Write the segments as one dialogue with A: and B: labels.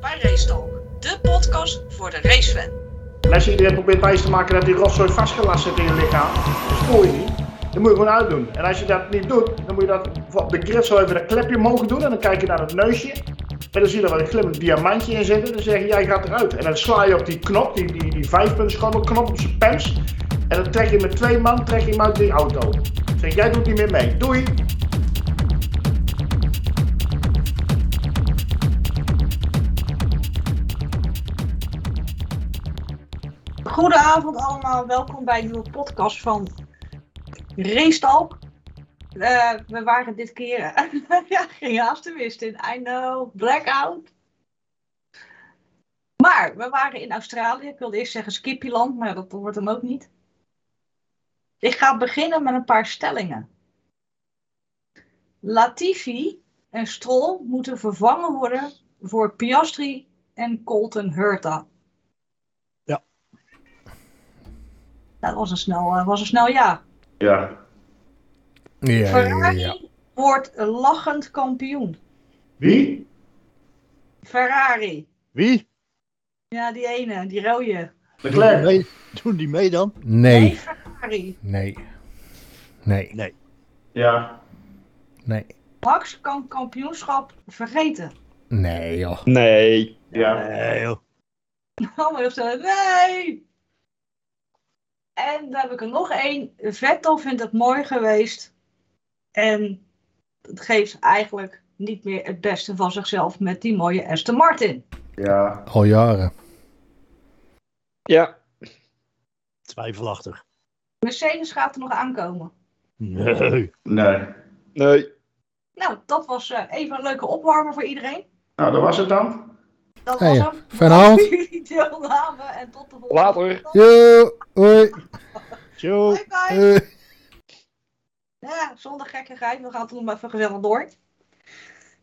A: bij Racetalk, de podcast voor de racefan.
B: En als je iedereen probeert wijs te maken dat die rotzooi vastgelast zit in je lichaam, dat spoor je niet. Dan moet je gewoon uitdoen. En als je dat niet doet, dan moet je dat voor op de grid zo even een klepje mogen doen. En dan kijk je naar het neusje. En dan zie je er wel een glimmend diamantje in zitten. Dan zeg je, jij gaat eruit. En dan sla je op die knop, die, die, die vijfpuntschabbelknop op zijn pens. En dan trek je met twee man trek je hem uit die auto. Dan zeg je, jij doet niet meer mee. Doei!
A: Goedenavond allemaal, welkom bij een nieuwe podcast van Racetalk. Eh, we waren dit keer, ja, geen haast te wisten in, I know, blackout. Maar we waren in Australië, ik wilde eerst zeggen Skippyland, maar dat wordt hem ook niet. Ik ga beginnen met een paar stellingen. Latifi en Stroll moeten vervangen worden voor Piastri en Colton Herta. Dat was een snel, eh, was een snel ja.
B: Ja,
C: Ja, ja,
A: Ferrari
C: ja.
A: wordt lachend kampioen.
B: wie?
A: Ferrari.
D: Wie?
A: Ja, die ene, die rode.
D: Doen die,
B: Leclerc?
D: mee, doen die mee dan?
C: Nee,
A: Ferrari.
C: nee. Nee,
B: Ja.
C: nee.
A: Max kan kampioenschap vergeten.
C: Nee, joh.
E: Nee.
B: Ja.
D: Nee joh.
A: Allemaal heel snel. Nee! En daar heb ik er nog één. Vettel vindt het mooi geweest. En het geeft eigenlijk niet meer het beste van zichzelf met die mooie Aston Martin.
B: Ja.
C: Al jaren.
E: Ja.
D: Twijfelachtig.
A: Mercedes gaat er nog aankomen.
D: Nee.
B: Nee.
E: Nee.
A: Nou, dat was eh, even een leuke opwarmer voor iedereen.
B: Nou, dat was het dan.
A: Dat
C: Hey,
A: was hem.
C: vanavond.
A: Dank voor jullie deelname en tot de volgende.
E: Later.
C: Yo, hoi.
D: Zo.
A: Bye bye.
C: eh.
A: Ja, zonder gekkigheid. We gaan toen nog maar even gezellig door.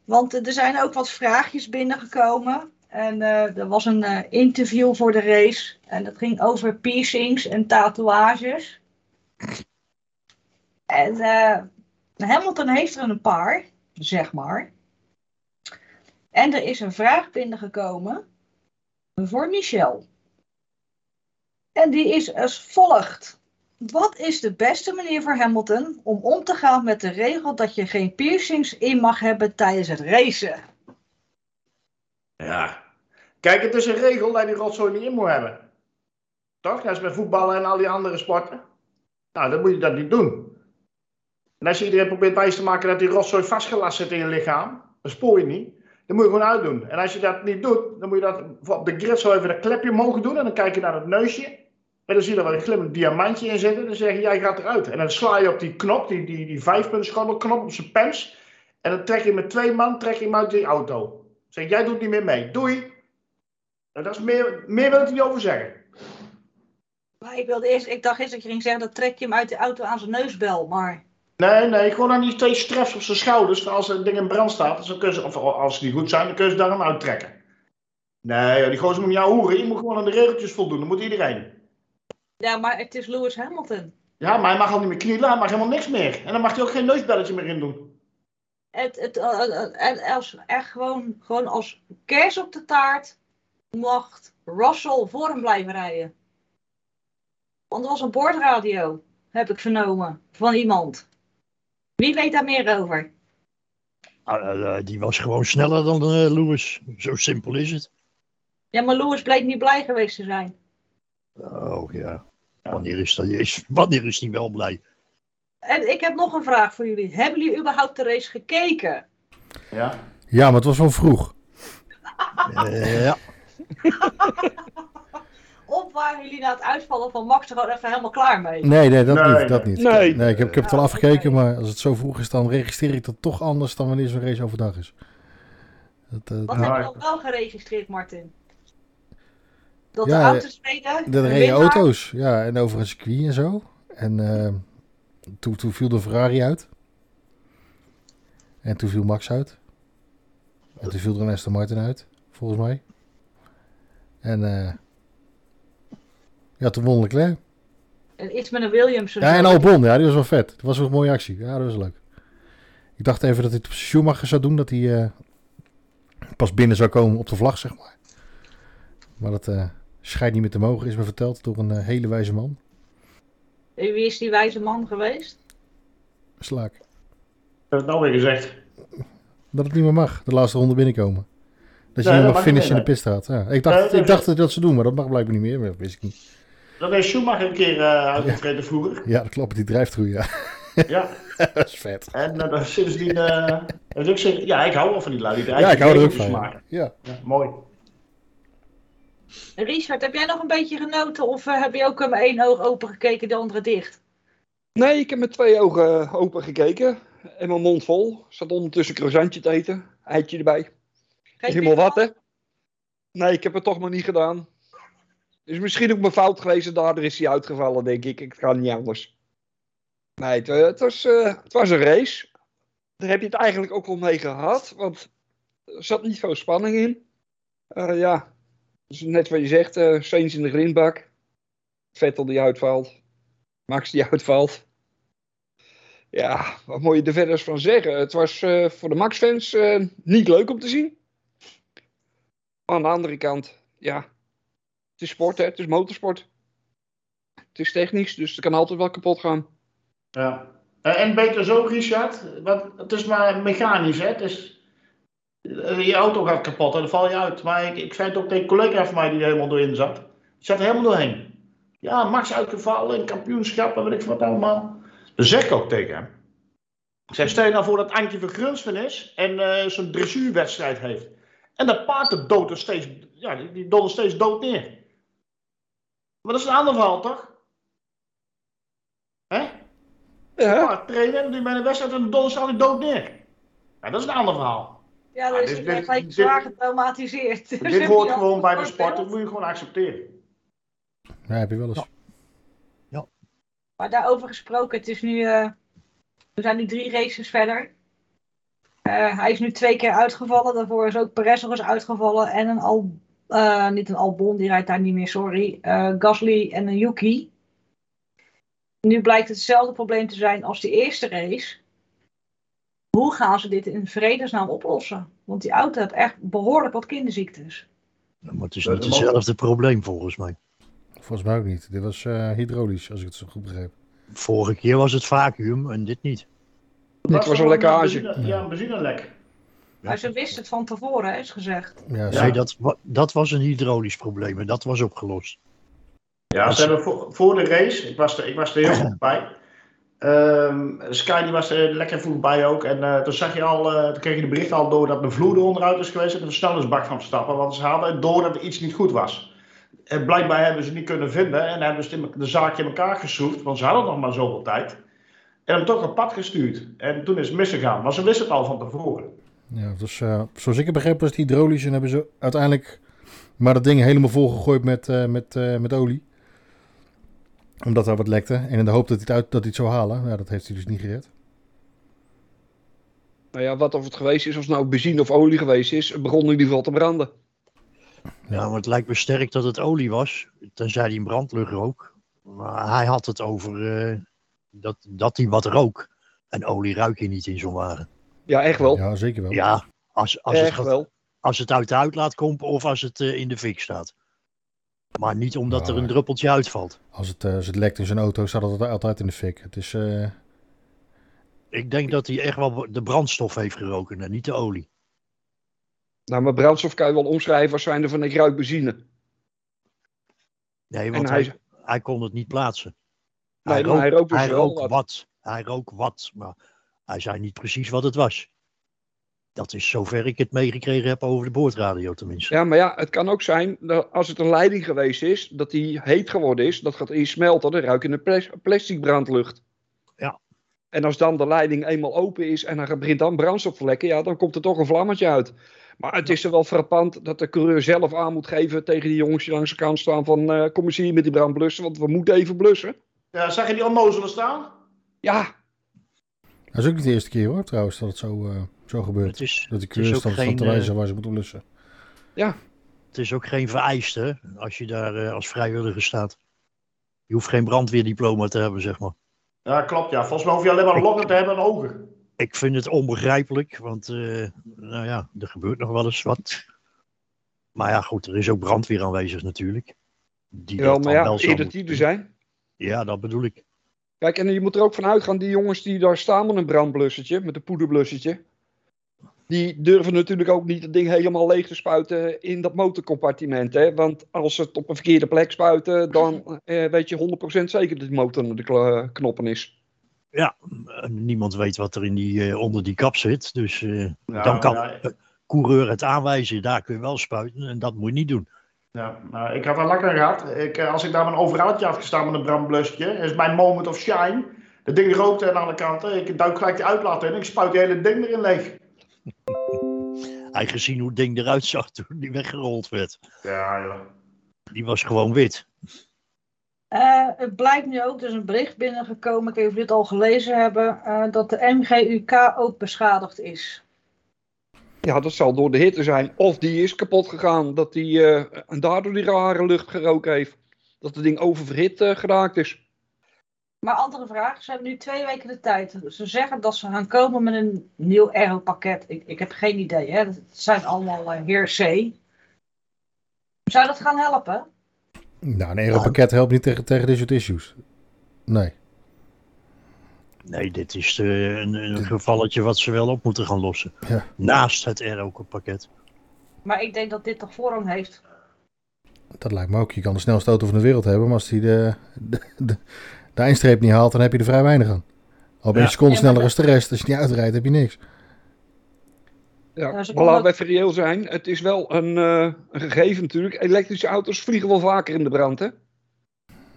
A: Want eh, er zijn ook wat vraagjes binnengekomen. En eh, er was een eh, interview voor de race. En dat ging over piercings en tatoeages. En eh, Hamilton heeft er een paar, zeg maar. En er is een vraag binnengekomen voor Michel. En die is als volgt. Wat is de beste manier voor Hamilton om om te gaan met de regel dat je geen piercings in mag hebben tijdens het racen?
B: Ja. Kijk, het is een regel dat je die rotzooi niet in moet hebben. Toch? Dat is met voetballen en al die andere sporten. Nou, dan moet je dat niet doen. En als je iedereen probeert wijs te maken dat die rotzooi vastgelast zit in je lichaam, dan spoor je niet. Dan moet je gewoon uitdoen. En als je dat niet doet, dan moet je dat voor op de grid zo even een klepje mogen doen. En dan kijk je naar het neusje. En dan zie je er wel een glimmend diamantje in zitten. Dan zeg je, jij gaat eruit. En dan sla je op die knop, die, die, die vijfpuntschabbelknop op zijn pens. En dan trek je met twee man trek je hem uit die auto. Zeg, jij doet niet meer mee. Doei. Nou, dat is meer, meer wil ik er niet over zeggen.
A: Maar ik, wilde eerst, ik dacht eerst dat je ging zeggen dat trek je hem uit de auto aan zijn neusbel. Maar
B: Nee, nee, gewoon aan die twee strefs op zijn schouders. Als er een ding in brand staat, dan kun je ze, of als die goed zijn, dan kun je ze daarom uittrekken. Nee, joh, die gozer moet niet aan hoeren. Je moet gewoon aan de regeltjes voldoen. Dat moet iedereen.
A: ja, maar het is Lewis Hamilton.
B: Ja, maar hij mag al niet meer knielen. Hij mag helemaal niks meer. En dan mag hij ook geen neusbelletje meer in doen.
A: Het, het, eh, eh, en als, echt gewoon, gewoon als kers op de taart mag Russell voor hem blijven rijden. Want er was een boordradio, heb ik vernomen, van iemand. Wie weet daar meer over?
D: Ah, eh, eh, die was gewoon sneller dan eh, Lewis. Zo simpel is het.
A: Ja, maar Lewis bleek niet blij geweest te zijn.
D: Oh ja. Wanneer is, dat, is, wanneer is die wel blij?
A: En ik heb nog een vraag voor jullie. Hebben jullie überhaupt de race gekeken?
B: Ja.
C: Ja, maar het was wel vroeg.
D: Eh, ja.
A: Of waren jullie na het uitvallen van Max er gewoon even helemaal klaar mee?
C: Nee, nee, dat
B: Nee,
C: niet. Dat niet.
E: nee.
C: ik, heb, ik heb het wel afgekeken, maar als het zo vroeg is, dan registreer ik dat toch anders dan wanneer zo'n race overdag is. Dat, eh,
A: Wat
C: nou,
A: heb je dan wel geregistreerd, Martin? Dat de
C: Ja,
A: auto's reden.
C: er
A: de
C: reden
A: winnaar-
C: auto's, ja, en over een circuit en zo. En eh, toen, toen viel de Ferrari uit. En toen viel Max uit. En toen viel er een Aston Martin uit, volgens mij. En eh ja, toen won Leclerc.
A: En iets met een Williams.
C: Ja, en Albon, ja, die was wel vet. Dat was wel een mooie actie. Ja, dat was leuk. Ik dacht even dat hij het op Schumacher zou doen, dat hij eh, pas binnen zou komen op de vlag, zeg maar. Maar dat eh schijnt niet meer te mogen, is me verteld door een eh, hele wijze man.
A: En Wie is die wijze man geweest?
C: Slaak.
B: heb het alweer gezegd.
C: Dat het niet meer mag, de laatste ronde binnenkomen. Dat je
B: Nee,
C: niet
B: dat mag
C: mag
B: niet
C: finishen in
B: meer,
C: de pitstraat. Ja, ik
B: Nee,
C: dacht,
B: dat is-
C: ik dacht dat dat ze doen, maar dat mag blijkbaar niet meer. Maar dat wist ik niet.
B: Dat is Schumacher een keer eh uitgetreden vroeger.
C: Ja, dat klopt. Die drijft goed, ja.
B: Ja.
C: dat is vet.
B: En eh, dat- sindsdien. eh, dat ik zeg, ja, ik hou wel van die lui. Die
C: Ja, ik hou er ook van.
B: Schumacher.
C: ja. Ja.
B: Ja, mooi.
A: Richard, heb jij nog een beetje genoten of eh, heb je ook eh, maar één oog open gekeken, de andere dicht?
E: Nee, ik heb met twee ogen open gekeken. En mijn mond vol. Zat ondertussen een croissantje te eten. Eitje erbij.
A: Kijk,
E: Helemaal wat, hè? Nee, ik heb het toch maar niet gedaan. Dus misschien ook mijn fout geweest en daardoor is hij uitgevallen, denk ik. Ik kan niet anders. Nee, het, eh, het was, eh, het was een race. Daar heb je het eigenlijk ook wel mee gehad, want er zat niet veel spanning in. Eh, ja, dus net wat je zegt, eh Sainz in de grindbak. Vettel die uitvalt. Max die uitvalt. Ja, wat moet je er verder van zeggen? Het was eh, voor de Max-fans eh, niet leuk om te zien. Maar aan de andere kant, ja, het is sport, hè? het is motorsport. Het is technisch, dus er kan altijd wel kapot gaan.
B: Ja. En, en beter zo, Richard. Want het is maar mechanisch, hè? Het is, eh, je auto gaat kapot en dan val je uit. Maar ik, ik zei het ook tegen een collega van mij die er helemaal doorheen zat. Die zat er helemaal doorheen. Ja, Max uitgevallen en kampioenschap en weet ik wat allemaal. Dat zeg ik ook tegen hem. Ik zeg, stel je nou voor dat Antje van Grunsven is en eh, zijn dressuurwedstrijd heeft. En dat paard dat dood er steeds, ja, die, die dondert steeds dood neer. Maar dat is een ander verhaal, toch? Hè?
E: Ja,
B: Ja, trainen en die bij de wedstrijd en dan staat hij dood neer. Ja, dat is een ander verhaal.
A: Ja,
B: Ja,
A: dan is
B: dit-
A: ik
B: dit-
A: gelijk
B: dit-
A: zwaar getraumatiseerd. Dus
B: Dit
A: heb
B: hoort
A: je al
B: gewoon bij de
A: voorbeeld.
B: sport, dat moet je gewoon accepteren.
C: heb je wel eens.
D: Ja.
A: Maar daarover gesproken, het is nu. eh, we zijn nu drie races verder. Eh, hij is nu twee keer uitgevallen. Daarvoor is ook Perez nog eens uitgevallen. En een Al. eh, niet een Albon, die rijdt daar niet meer, sorry. Eh, Gasly en een Yuki. Nu blijkt hetzelfde probleem te zijn als die eerste race. Hoe gaan ze dit in vredesnaam oplossen? Want die auto heeft echt behoorlijk wat kinderziektes.
D: Ja, Maar het is
B: Ja,
D: niet
B: dat mag.
D: hetzelfde probleem volgens mij.
C: Volgens mij ook niet. Dit was eh, hydraulisch, als ik het zo goed begreep.
D: Vorige keer was het vacuüm en dit niet.
E: dit was een lekkage.
B: Ja, een benzinelek.
A: Maar ze wisten het van tevoren, hè, is gezegd.
C: Ja,
B: Ja.
D: Nee, dat, wa- dat was een hydraulisch probleem en dat was opgelost.
B: Ja, ze hebben voor, voor de race, ik was er, ik was er heel goed bij. Ehm, Sky die was er lekker vroeg bij ook. En eh, toen zag je al, eh, toen kreeg je de bericht al door dat de vloer eronderuit is geweest en de versnellingsbak van stappen. Want ze hadden het door dat er iets niet goed was. En blijkbaar hebben ze niet kunnen vinden en hebben ze het in- de zaakje in elkaar geschroefd, want ze hadden nog maar zoveel tijd. En hem toch op pad gestuurd. En toen is het misgegaan, maar ze wisten het al van tevoren.
C: Ja, het was, eh, zoals ik het begreep was het hydraulisch en hebben ze uiteindelijk maar dat ding helemaal volgegooid met, eh, met, eh, met olie. Omdat daar wat lekte. En in de hoop dat hij het, uit, dat hij het zou halen. Ja, dat heeft hij dus niet gered.
E: Nou ja, wat of het geweest is, of het nou benzine of olie geweest is, het begon in ieder geval te branden.
C: Ja.
D: Ja, maar het lijkt me sterk dat het olie was, tenzij die een brandlucht rook. Maar hij had het over eh, dat, dat hij wat rook. En olie ruik je niet in zo'n wagen.
E: Ja, echt wel.
C: Ja, zeker wel.
D: Ja, als, als, het,
E: echt
D: gaat-
E: wel.
D: als het uit de uitlaat komt of als het eh, in de fik staat. Maar niet omdat er
C: Maar-
D: een druppeltje uitvalt.
C: Als, het, eh, als het lekt in zijn auto staat het altijd in de fik. Het is, eh,
D: Ik denk dat hij echt wel de brandstof heeft geroken en niet de olie.
E: Nou, maar brandstof kan je wel omschrijven als zijnde van ik ruik benzine.
D: Nee,
E: En
D: want hij,
E: hij,
D: hij... kon het niet plaatsen.
E: Nee, maar hij rook dus wel
D: rook
E: wat.
D: wat. Hij rook wat, maar hij zei niet precies wat het was. Dat is zover ik het meegekregen heb over de boordradio tenminste.
E: ja, maar ja, het kan ook zijn dat als het een leiding geweest is, dat die heet geworden is, dat gaat eerst smelten, dan ruik je een plas- plastic brandlucht.
D: Ja.
E: En als dan de leiding eenmaal open is en dan begint dan brandstof te lekken, ja, dan komt er toch een vlammetje uit. Maar het is er wel frappant dat de coureur zelf aan moet geven tegen die jongens die langs de kant staan van eh, kom eens hier met die brandblussen, want we moeten even blussen.
B: Ja, zag je die onnozelen staan?
E: Ja,
C: dat is ook niet de eerste keer hoor trouwens dat het zo, eh, zo gebeurt.
D: Het is,
C: Dat de
D: het, is
C: coureur
D: ook
C: stand staat
D: geen,
C: te
D: eh,
C: wijzen waar ze moeten blussen.
D: het is ook geen vereiste als je daar eh, als vrijwilliger staat. Je hoeft geen brandweerdiploma te hebben, zeg maar.
B: Ja, klopt. Ja. Volgens mij hoef je alleen maar een lokken te hebben en ogen.
D: ik vind het onbegrijpelijk, want eh, nou ja, er gebeurt nog wel eens wat. Maar ja, goed, er is ook brandweer aanwezig natuurlijk. Die
E: Ja,
D: dat
E: maar
D: dan
E: ja,
D: wel zou
E: eerder
D: moeten
E: die dus er
D: doen.
E: zijn.
D: Ja, dat bedoel ik.
E: Kijk, en je moet er ook van uitgaan, die jongens die daar staan met een brandblussertje, met een poederblussertje. Die durven natuurlijk ook niet het ding helemaal leeg te spuiten in dat motorcompartiment. Hè? Want als ze het op een verkeerde plek spuiten, dan eh, weet je 100% zeker dat die motor naar de kla- knoppen is.
D: Eh, Niemand weet wat er in die, eh, onder die kap zit, dus eh,
B: Nou,
D: dan kan
B: ja,
D: de coureur het aanwijzen. Daar kun je wel spuiten en dat moet je niet doen.
B: Ja, nou, ik had wel lekker gehad. Ik, eh, als ik daar mijn overalletje had gestaan met een brandblusje, is mijn moment of shine. Dat ding rookte aan alle kanten. Ik duik gelijk die uitlaat in. Ik spuit die hele ding erin leeg.
D: Hij gezien hoe het ding eruit zag toen die weggerold werd.
B: Ja, joh.
D: Die was gewoon wit.
A: Eh, het blijkt nu ook, dus een bericht binnengekomen, ik weet niet of jullie dit al gelezen hebben, eh, dat de MGUK ook beschadigd is.
E: Ja, dat zal door de hitte zijn. Of die is kapot gegaan, dat die eh, en daardoor die rare lucht geroken heeft. Dat het ding oververhit eh, geraakt is.
A: Maar andere vraag, ze hebben nu twee weken de tijd. Ze zeggen dat ze gaan komen met een nieuw aeropakket. Ik, ik heb geen idee, hè. het zijn allemaal eh, heersee. Zou dat gaan helpen?
C: Nou, een aeropakket helpt niet tegen, tegen dit soort issues. Nee.
D: Nee, dit is eh, een, een gevalletje wat ze wel op moeten gaan lossen.
C: Ja.
D: Naast het RO-pakket.
A: Maar ik denk dat dit toch voorrang heeft.
C: Dat lijkt me ook. Je kan de snelste auto van de wereld hebben, maar als die de, de, de, de eindstreep niet haalt, dan heb je er vrij weinig aan. Al ben je
D: Ja.
C: een seconde
A: Ja, maar
C: sneller als de rest. Als je niet uitrijdt, heb je niks.
E: Ja,
A: Ja, ze
E: maar
A: konden-
E: laten we even reëel zijn. Het is wel een, eh, een gegeven natuurlijk. Elektrische auto's vliegen wel vaker in de brand, hè?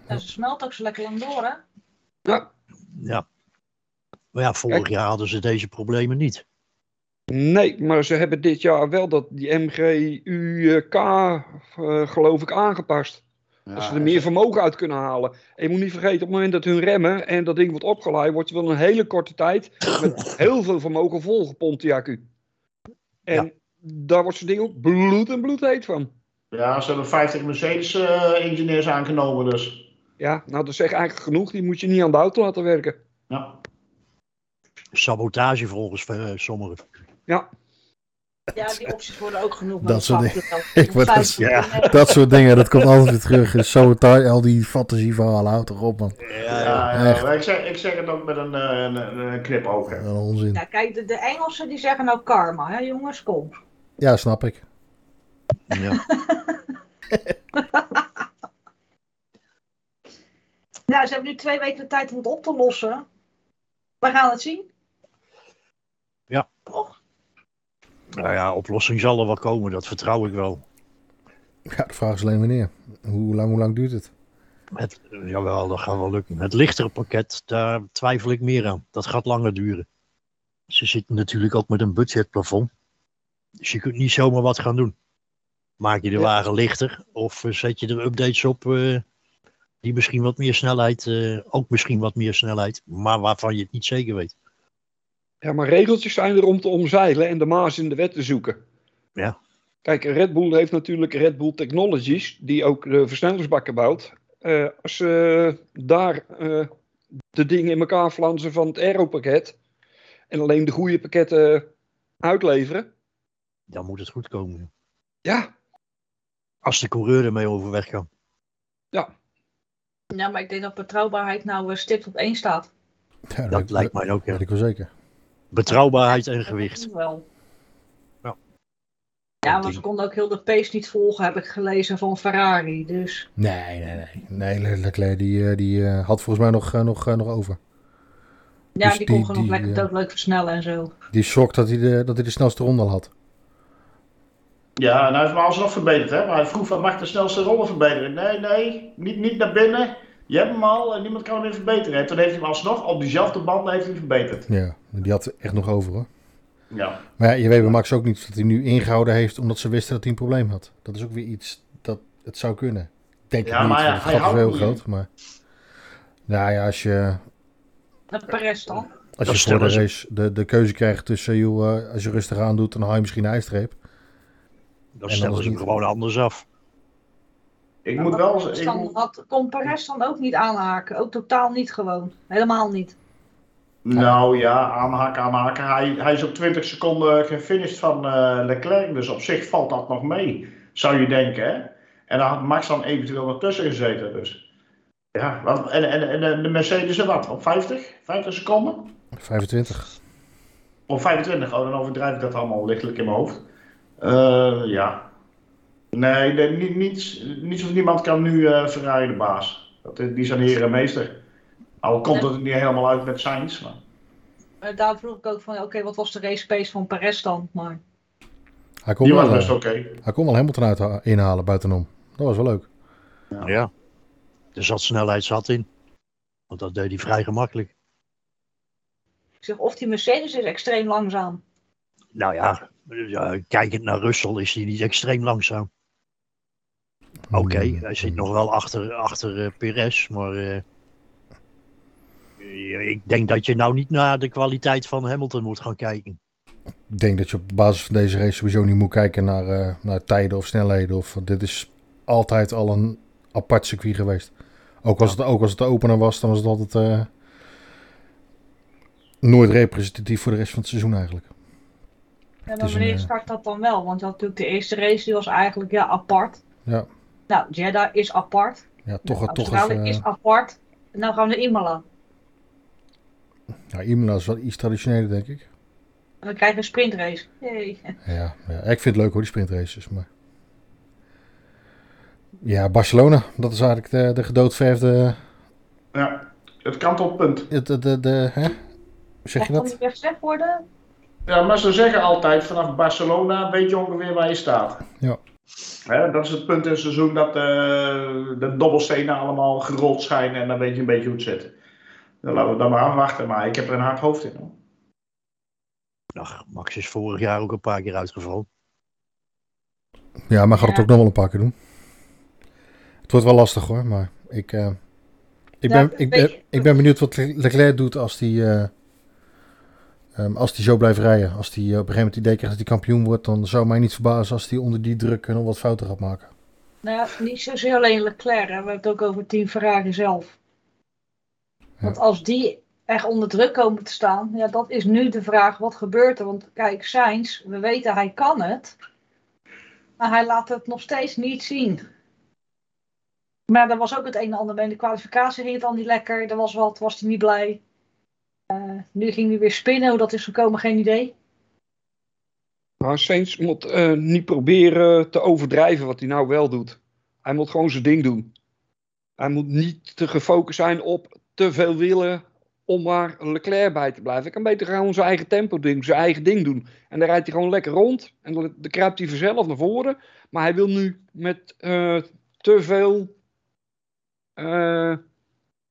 A: En ze smelt ook zo lekker lang door, hè.
E: Ja.
D: Ja. Maar ja, vorig
E: Kijk.
D: jaar hadden ze deze problemen niet.
E: Nee, maar ze hebben dit jaar wel dat, die MGUK, eh, geloof ik, aangepast. dat
B: Ah,
E: ze er meer vermogen uit kunnen halen. En je moet niet vergeten, op het moment dat hun remmen en dat ding wordt opgeleid, wordt je wel een hele korte tijd met heel veel vermogen volgepompt, die accu. En
D: Ja.
E: daar wordt zo'n ding ook bloed en bloed heet van.
B: Ja, ze hebben 50 Mercedes-engineers aangenomen, dus.
E: Ja, nou dat zegt eigenlijk genoeg. Die moet je niet aan de auto laten werken.
B: Ja.
D: Sabotage volgens eh, sommigen.
A: Ja, die opties worden ook genoeg.
C: Dat soort
A: dingen.
C: Ik word als- Dat soort dingen, dat komt altijd weer terug. Dus Sabotage, al die fantasieverhalen, houd toch op man.
B: Ja,
C: echt.
B: maar ik, zeg, ik zeg het ook met een, eh, een, een, een knipoog. hè.
C: Wat een onzin.
A: Ja, kijk, de, de Engelsen die zeggen nou karma, hè jongens, kom.
C: Ja, snap ik.
D: Ja.
A: Nou, ze hebben nu twee weken de tijd om het op te lossen. We gaan het zien.
D: Nou ja, oplossing zal er wel komen, dat vertrouw ik wel.
C: Ja, de vraag is alleen wanneer. Hoe lang, hoe lang duurt het?
D: Het, jawel, dat gaat wel lukken. Het lichtere pakket, daar twijfel ik meer aan. Dat gaat langer duren. Ze zitten natuurlijk ook met een budgetplafond. Dus je kunt niet zomaar wat gaan doen. Maak je de
E: Ja.
D: wagen lichter of eh, zet je er updates op eh, die misschien wat meer snelheid, eh, ook misschien wat meer snelheid, maar waarvan je het niet zeker weet.
E: Ja, maar regeltjes zijn er om te omzeilen en de maas in de wet te zoeken.
D: Ja.
E: Kijk, Red Bull heeft natuurlijk Red Bull Technologies, die ook de versnellingsbakken bouwt. Eh, als ze daar eh, de dingen in elkaar flansen van het aeropakket en alleen de goede pakketten uitleveren,
D: Dan moet het goed komen.
E: ja,
D: Als de coureur ermee overweg kan.
A: Ja, maar ik denk dat betrouwbaarheid nou eh, stipt op één staat.
C: Ja, dat
D: Dat lijkt mij ook.
C: weet
D: Ja.
C: ik wel zeker.
D: Betrouwbaarheid en gewicht.
A: Dat wel.
D: Ja.
A: Ja, maar ze konden ook heel de pace niet volgen, heb ik gelezen van Ferrari. Dus
C: Nee, nee, nee. Nee, Le- Leclerc die, eh, die eh, had volgens mij nog, eh, nog, eh, nog over.
A: ja,
C: Dus
A: die,
C: die-
A: kon gewoon
C: die,
A: lekker
C: eh,
A: doodleuk versnellen en zo.
C: Die shock dat hij de, dat hij de snelste ronde al had.
B: Ja, en hij heeft me alsnog verbeterd, hè. Maar hij vroeg van, mag ik de snelste rollen verbeteren? Nee, nee, niet, niet naar binnen. Je hebt hem al en niemand kan hem meer verbeteren. En toen heeft hij hem alsnog op diezelfde banden heeft hij hem verbeterd.
C: Ja, die had echt nog over hoor.
B: Ja.
C: Maar ja, je weet bij Max ook niet dat hij nu ingehouden heeft omdat ze wisten dat hij een probleem had. Dat is ook weer iets dat het zou kunnen. Ik Denk
B: Ja,
C: ik niet,
B: maar ja,
C: want het
B: hij
C: gat is
B: houdt
C: wel heel
B: niet
C: groot. Maar... Nou ja, als je,
A: En Perez dan?
C: als
D: Dat
C: je voor de
D: stellen ze-
C: race de, de keuze krijgt tussen, joh, eh, als je rustig aan doet, dan haal je misschien een ijstreep.
D: Dan
C: En
D: stellen
C: anders
D: ze hem
C: niet.
D: gewoon anders af.
B: Ik
A: Ja,
B: moet
A: maar
B: wel...
A: Perez
B: Ik
A: dan
B: moet,
A: had, kon Perez dan ook niet aanhaken. Ook totaal niet gewoon. Helemaal niet.
B: Nou ja, aanhaken, aanhaken. Hij, hij is op 20 seconden gefinished van eh, Leclerc, dus op zich valt dat nog mee, zou je denken. Hè? En daar had Max dan eventueel nog tussen gezeten. Dus. Ja, wat, en, en, en de- de Mercedes en wat? Op 50? 50 seconden?
C: 25.
B: Op 25, oh, dan overdrijf ik dat allemaal lichtelijk in mijn hoofd. Eh, ja. Nee, de- ni- niets, niets of niemand kan nu eh Ferrari de baas. Dat, eh, die zijn heren en meester. Al komt het er niet helemaal uit met Sainz, maar...
A: Eh, Daarom vroeg ik ook van, ja, oké, wat was de race pace van Perez dan? Maar
C: Hij kon,
B: Die was
C: wel,
B: best
C: eh,
B: oké.
C: hij kon wel Hamilton uit, eh, inhalen buitenom. Dat was wel leuk.
D: Ja. Er zat snelheid zat in. Want dat deed hij vrij gemakkelijk.
A: ik zeg, of die Mercedes is extreem langzaam.
D: Nou ja, ja, kijkend naar Russell is hij niet extreem langzaam. Oké,
C: Hmm,
D: hij zit nog wel achter, achter eh, Perez, maar eh, eh, ik denk dat je nou niet naar de kwaliteit van Hamilton moet gaan kijken.
C: Ik denk dat je op basis van deze race sowieso niet moet kijken naar, eh, naar tijden of snelheden. Of, want dit is altijd al een apart circuit geweest. Ook als, het, ook als het de opener was, dan was het altijd eh, nooit representatief voor de rest van het seizoen eigenlijk.
A: Ja, maar
C: is een,
A: wanneer
C: eh,
A: start dat dan wel? Want je had natuurlijk de eerste race, die was eigenlijk ja, apart.
C: Ja.
A: Nou, Jeddah is apart. Nou,
C: Ja, toch, toch
D: nou,
A: Australië
C: even... eh,
A: is apart. En nou gaan we naar Imola.
C: Ja, Imola is wel iets traditioneler, denk ik.
A: En dan krijgen we een sprintrace. Yay.
C: Ja, ja, ik vind het leuk hoor, die sprintraces. Maar... Ja, Barcelona, dat is eigenlijk de, de gedoodverfde...
B: Ja, het kantelpunt.
C: De, de, de, de- hè? Hoe zeg
A: Mag
C: je
A: dat
C: dat?
A: niet weggezegd worden?
B: Ja, maar ze zeggen altijd vanaf Barcelona weet je ongeveer waar je staat.
C: Ja.
B: Hè, dat is het punt in het seizoen dat eh, de dobbelstenen allemaal gerold schijnen en dan weet je een beetje hoe het zit. Dan laten we dan maar afwachten, maar ik heb er een hard hoofd in. Hoor.
D: Ach, Nou, Max is vorig jaar ook een paar keer uitgevallen.
C: Ja, maar gaat het
A: Ja.
C: ook nog wel een paar keer doen. Het wordt wel lastig hoor, maar ik, eh, ik,
A: Nou,
C: ben, ik,
A: weet
C: ben,
A: je-
C: ik ben benieuwd wat Le- Leclerc doet als hij eh, ehm, als die zo blijft rijden. Als hij op een gegeven moment het idee krijgt dat hij kampioen wordt, dan zou mij niet verbazen als hij onder die druk nog wat fouten gaat maken.
A: Nou ja, niet zozeer alleen Leclerc. Hè. We hebben het ook over Team Ferrari zelf. Want als die echt onder druk komen te staan, ja, dat is nu de vraag, wat gebeurt er? Want kijk, Sainz, we weten hij kan het, maar hij laat het nog steeds niet zien. Maar er was ook het een en ander mee. In de kwalificatie ging het al niet lekker, er was wat, was hij niet blij. Eh, nu ging hij weer spinnen, hoe dat is gekomen, geen idee.
E: Maar Saints moet eh, niet proberen te overdrijven wat hij nou wel doet. Hij moet gewoon zijn ding doen. Hij moet niet te gefocust zijn op te veel willen om maar Leclerc bij te blijven. Hij kan beter gewoon zijn eigen tempo doen, zijn eigen ding doen. En dan rijdt hij gewoon lekker rond en dan, dan kruipt hij vanzelf naar voren. Maar hij wil nu met eh, te veel... eh,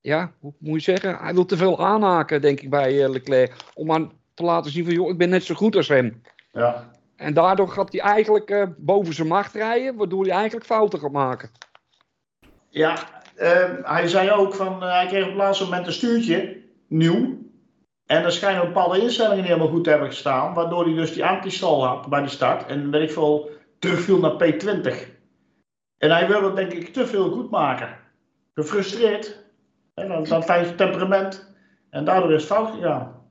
E: ja, hoe moet je zeggen? Hij wil te veel aanhaken, denk ik, bij eh, Leclerc. Om aan te laten zien van, joh, ik ben net zo goed als hem.
B: Ja.
E: En daardoor gaat hij eigenlijk eh, boven zijn macht rijden, waardoor hij eigenlijk fouten gaat maken.
B: Ja, eh, hij zei ook van eh, hij kreeg op het laatste moment een stuurtje, nieuw. En er schijnen bepaalde instellingen niet helemaal goed te hebben gestaan, waardoor hij dus die antistal had bij die start en weet ik veel, terugviel naar P20. En hij wil het denk ik te veel goed maken. Gefrustreerd, hè, dat, dat fijn temperament. En daardoor is het fout gegaan.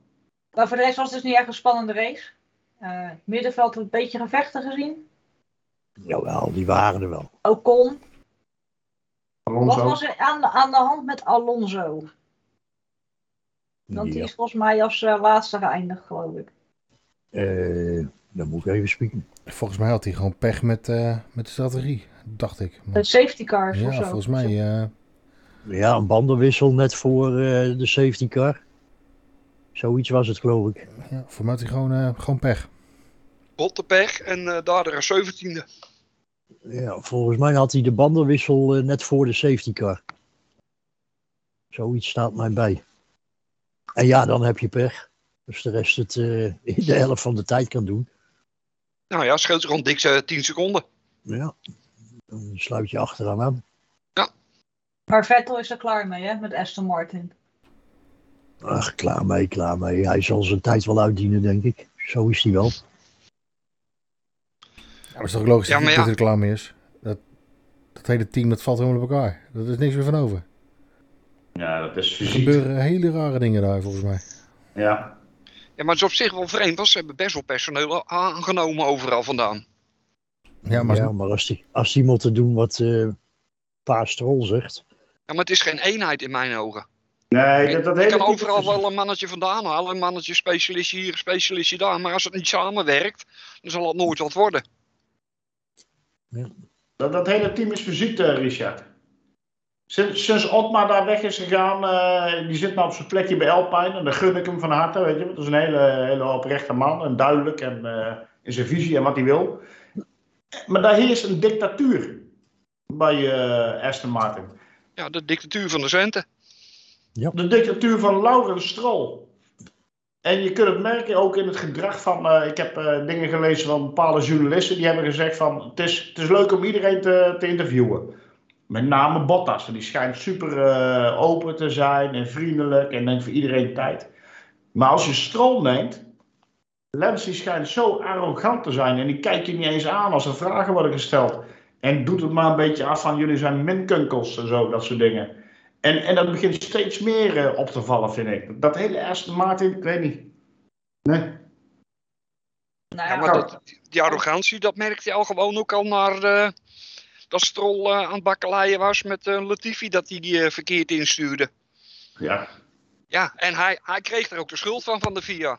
A: Maar voor de rest was het dus niet echt een spannende race. Eh middenveld een beetje gevechten gezien.
D: Jawel, die waren er wel.
A: Ocon, wat
B: Alonso.
A: was er aan, aan de hand met Alonso? Want die
D: Ja.
A: is volgens mij als eh, laatste geëindigd, geloof ik.
D: Eh, dan moet ik even spieken.
C: Volgens mij had hij gewoon pech met, eh, met de strategie, dacht ik. Maar-
A: Met safety cars
C: ja,
A: of zo.
C: volgens mij. eh,
D: Ja, een bandenwissel net voor eh, de safety car. Zoiets was het, geloof ik.
C: ja, volgens mij had hij gewoon, eh, gewoon pech.
E: Bottepech en eh, daardoor een 17e.
D: Ja, volgens mij had hij de bandenwissel eh, net voor de safety car. Zoiets staat mij bij. En ja, dan heb je pech. Dus de rest het eh, in de helft van de tijd kan doen.
E: Nou ja, scheelt gewoon dik 10 seconden.
D: Ja, dan sluit je achteraan aan.
A: Maar Vettel is er klaar mee, hè, met Aston Martin.
D: Ach, klaar mee, klaar mee. Hij zal zijn tijd wel uitdienen, denk ik. Zo is hij wel.
C: Ja, maar het is toch logisch
E: Ja,
C: dat
E: maar
C: hij
E: ja.
C: dat hij er klaar mee is? Dat, dat hele team dat valt helemaal op elkaar. Er is niks meer van over.
B: Ja, dat is
C: Er
B: fysiek.
C: gebeuren hele rare dingen daar volgens mij.
B: Ja.
E: Ja, maar het is op zich wel vreemd, want ze hebben best wel personeel aangenomen overal vandaan.
C: Ja, maar
D: ja, maar als, die, als die moeten doen wat eh Paas Strol zegt.
E: Ja, maar het is geen eenheid in mijn ogen.
B: Nee,
E: Je
B: dat, dat
E: je
B: hele
E: kan
B: type-
E: overal wel een mannetje vandaan halen, een mannetje specialistje hier, een specialistje daar. Maar als het niet samenwerkt, dan zal het nooit wat worden.
B: Dat, dat hele team is verziekt, eh, Richard. Sinds, sinds Otmar daar weg is gegaan, eh, die zit nou op zijn plekje bij Alpine. En dan gun ik hem van harte, weet je. Want dat is een hele, hele oprechte man. En duidelijk en eh, in zijn visie en wat hij wil. Maar daar heerst een dictatuur bij eh, Aston Martin.
E: Ja, de dictatuur van de centen.
B: De dictatuur van Laurens Strol. En je kunt het merken ook in het gedrag van. eh, ik heb eh, dingen gelezen van bepaalde journalisten. Die hebben gezegd: van het is, het is leuk om iedereen te, te interviewen. Met name Bottas. want Die schijnt super eh, open te zijn en vriendelijk en neemt voor iedereen tijd. Maar als je Strol neemt. Lens die schijnt zo arrogant te zijn. En die kijkt je niet eens aan als er vragen worden gesteld. En doet het maar een beetje af van jullie zijn minkunkels en zo, dat soort dingen. En, en dat begint steeds meer eh, op te vallen, vind ik. Dat hele Aston Martin, ik weet niet. Nee.
A: Nou
E: Ja,
A: ja,
E: maar dat, die arrogantie, dat merkte je al gewoon ook al naar eh, dat Strol eh, aan het bakkeleien was met eh, Latifi, dat hij die eh, verkeerd instuurde.
B: Ja,
E: Ja, en hij, hij kreeg er ook de schuld van, van de VIA.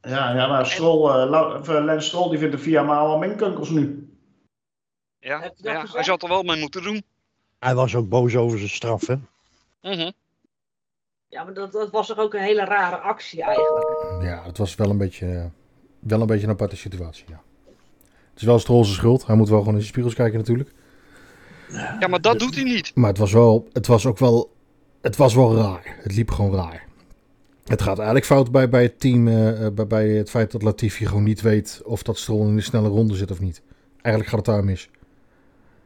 B: ja, ja maar Stroll, eh, Lau- of, eh, Lens Stroll die vindt de VIA maar allemaal minkunkels nu.
E: Ja,
A: Heb je dat
E: ja hij
A: gezegd?
E: zat er wel mee moeten doen.
D: Hij was ook boos over zijn straf, hè?
E: Mhm.
A: ja, maar dat, dat was toch ook een hele rare actie eigenlijk.
C: ja, het was wel een beetje, eh, wel een, beetje een aparte situatie. Ja. Het is wel Strol zijn schuld. Hij moet wel gewoon in zijn spiegels kijken natuurlijk.
E: Ja, maar dat doet hij niet.
C: Maar het was, wel, het was ook wel, het was wel raar. Het liep gewoon raar. Het gaat eigenlijk fout bij, bij het team, eh, eh, bij, bij het feit dat Latifi gewoon niet weet of dat Strol in de snelle ronde zit of niet. Eigenlijk gaat het daar mis.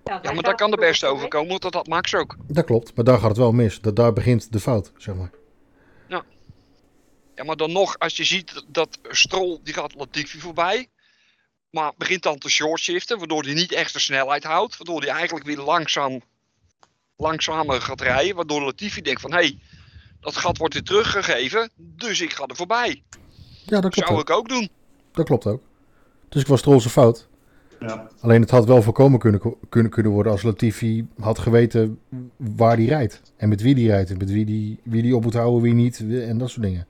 E: Ja, maar daar kan er best over komen, want dat had Max ook.
C: Dat klopt, maar daar gaat het wel mis. Dat, daar begint de fout, zeg maar.
E: Ja, maar dan nog, als je ziet dat Strol, die gaat Latifi voorbij. Maar begint dan te shortshiften, waardoor hij niet echt de snelheid houdt. Waardoor hij eigenlijk weer langzaam, langzamer gaat rijden. Waardoor Latifi denkt van, hé, hey, dat gat wordt weer teruggegeven, dus ik ga er voorbij.
C: Ja, dat
E: Dat
C: klopt
E: zou
C: ook.
E: ik ook doen.
C: Dat klopt ook. Dus ik was Strol zijn fout.
B: Ja.
C: Alleen het had wel voorkomen kunnen, kunnen, kunnen worden als Latifi had geweten waar hij rijdt. En met wie die rijdt. En met wie die, wie die op moet houden, wie niet. En dat soort dingen.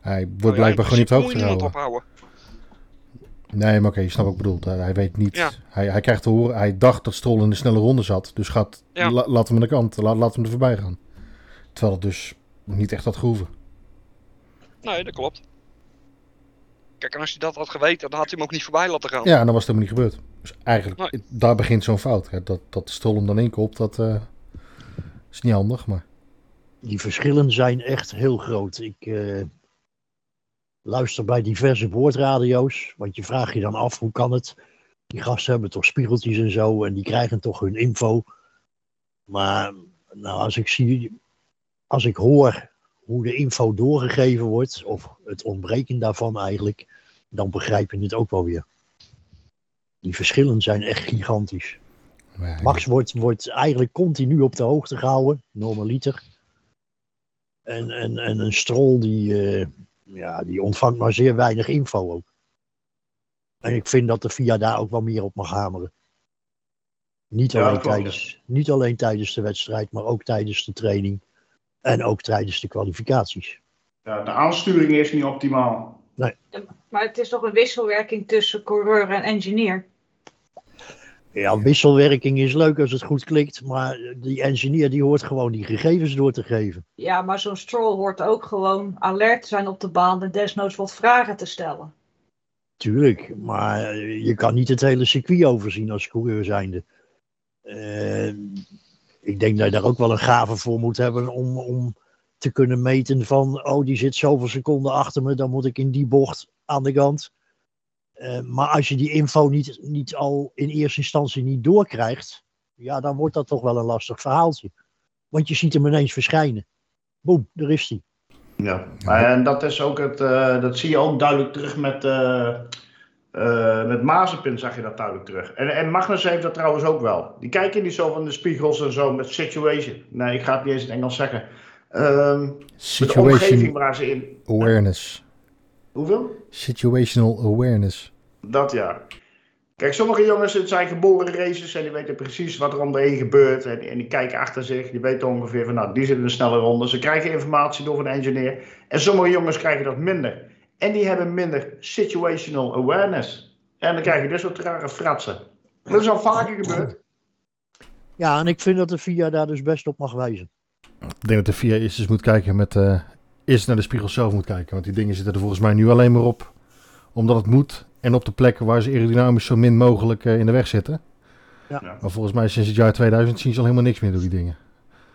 C: Hij wordt
E: Nou ja, in
C: blijkbaar gewoon niet
E: principe
C: op de
E: moet
C: hoogte
E: je niemand
C: gehouden.
E: ophouden.
C: Nee, maar oké, je snapt wat ik bedoel. Hij- Hij weet niet.
E: Ja.
C: Hij, hij krijgt te horen, hij dacht dat Stroll in de snelle ronde zat. Dus gaat,
E: Ja.
C: la- laat hem aan de kant. Laat, laat hem er voorbij gaan. Terwijl het dus niet echt had gehoeven.
E: Nee, dat klopt. Kijk, en als hij dat had geweten, dan had hij hem ook niet voorbij laten gaan.
C: Ja, en dan was het helemaal niet gebeurd. Dus eigenlijk,
E: Nee.
C: daar begint zo'n fout. hè. Dat, dat Stroll hem dan inkopt, dat eh, is niet handig. Maar
D: Die verschillen zijn echt heel groot. Ik eh, luister bij diverse boordradio's, want je vraagt je dan af hoe kan het. Die gasten hebben toch spiegeltjes en zo en die krijgen toch hun info. Maar nou, als ik zie, als ik hoor hoe de info doorgegeven wordt, of het ontbreken daarvan eigenlijk, dan begrijp je het ook wel weer. Die verschillen zijn echt gigantisch.
C: maar ja,
D: Max wordt, wordt eigenlijk continu op de hoogte gehouden, normaliter. En, en, en een strol die, eh, ja, die ontvangt maar zeer weinig info ook. En ik vind dat de VIA daar ook wel meer op mag hameren. Niet
B: Ja,
D: alleen,
B: dat klopt, ja.
D: tijdens, niet alleen tijdens de wedstrijd, maar ook tijdens de training. En ook tijdens de kwalificaties.
B: Ja, de aansturing is niet optimaal.
A: Maar het is toch een wisselwerking tussen coureur en engineer?
D: Ja, wisselwerking is leuk als het goed klikt, maar die engineer die hoort gewoon die gegevens door te geven.
A: Ja, maar zo'n stroll hoort ook gewoon alert te zijn op de baan en desnoods wat vragen te stellen.
D: Tuurlijk, maar je kan niet het hele circuit overzien als coureur zijnde. Eh, ik denk dat je daar ook wel een gave voor moet hebben om, om te kunnen meten van... oh, die zit zoveel seconden achter me, dan moet ik in die bocht aan de kant. Eh, maar als je die info niet, niet al in eerste instantie niet doorkrijgt... ja, dan wordt dat toch wel een lastig verhaaltje. Want je ziet hem ineens verschijnen. Boem, daar is hij.
B: Ja. En dat is ook het, eh, dat zie je ook duidelijk terug met, eh eh, met Mazepin zag je dat duidelijk terug. En, en Magnus heeft dat trouwens ook wel. Die kijken niet zo van de spiegels en zo met situation. Nee, ik ga het niet eens in Engels zeggen. Ehm, met de omgeving
C: Situation
B: waar ze in.
C: awareness.
B: Hoeveel?
C: Situational awareness.
B: Dat ja. Kijk, sommige jongens het zijn geboren racers en die weten precies wat er om de heen gebeurt. En, en die kijken achter zich, die weten ongeveer van nou, die zitten in een snelle ronde. Ze krijgen informatie door een engineer. En sommige jongens krijgen dat minder. En die hebben minder situational awareness. En dan krijg je dus wat rare fratsen. Dat is al vaker gebeurd.
D: Ja, en ik vind dat de VIA daar dus best op mag wijzen.
C: Ik denk dat de VIA eerst eens dus moet kijken met... eh, eerst naar de spiegel zelf moet kijken. Want die dingen zitten er volgens mij nu alleen maar op. Omdat het moet. En op de plekken waar ze aerodynamisch zo min mogelijk eh, in de weg zitten.
D: Ja.
B: Ja.
C: Maar volgens mij sinds het jaar 2000 zien ze al helemaal niks meer door die dingen.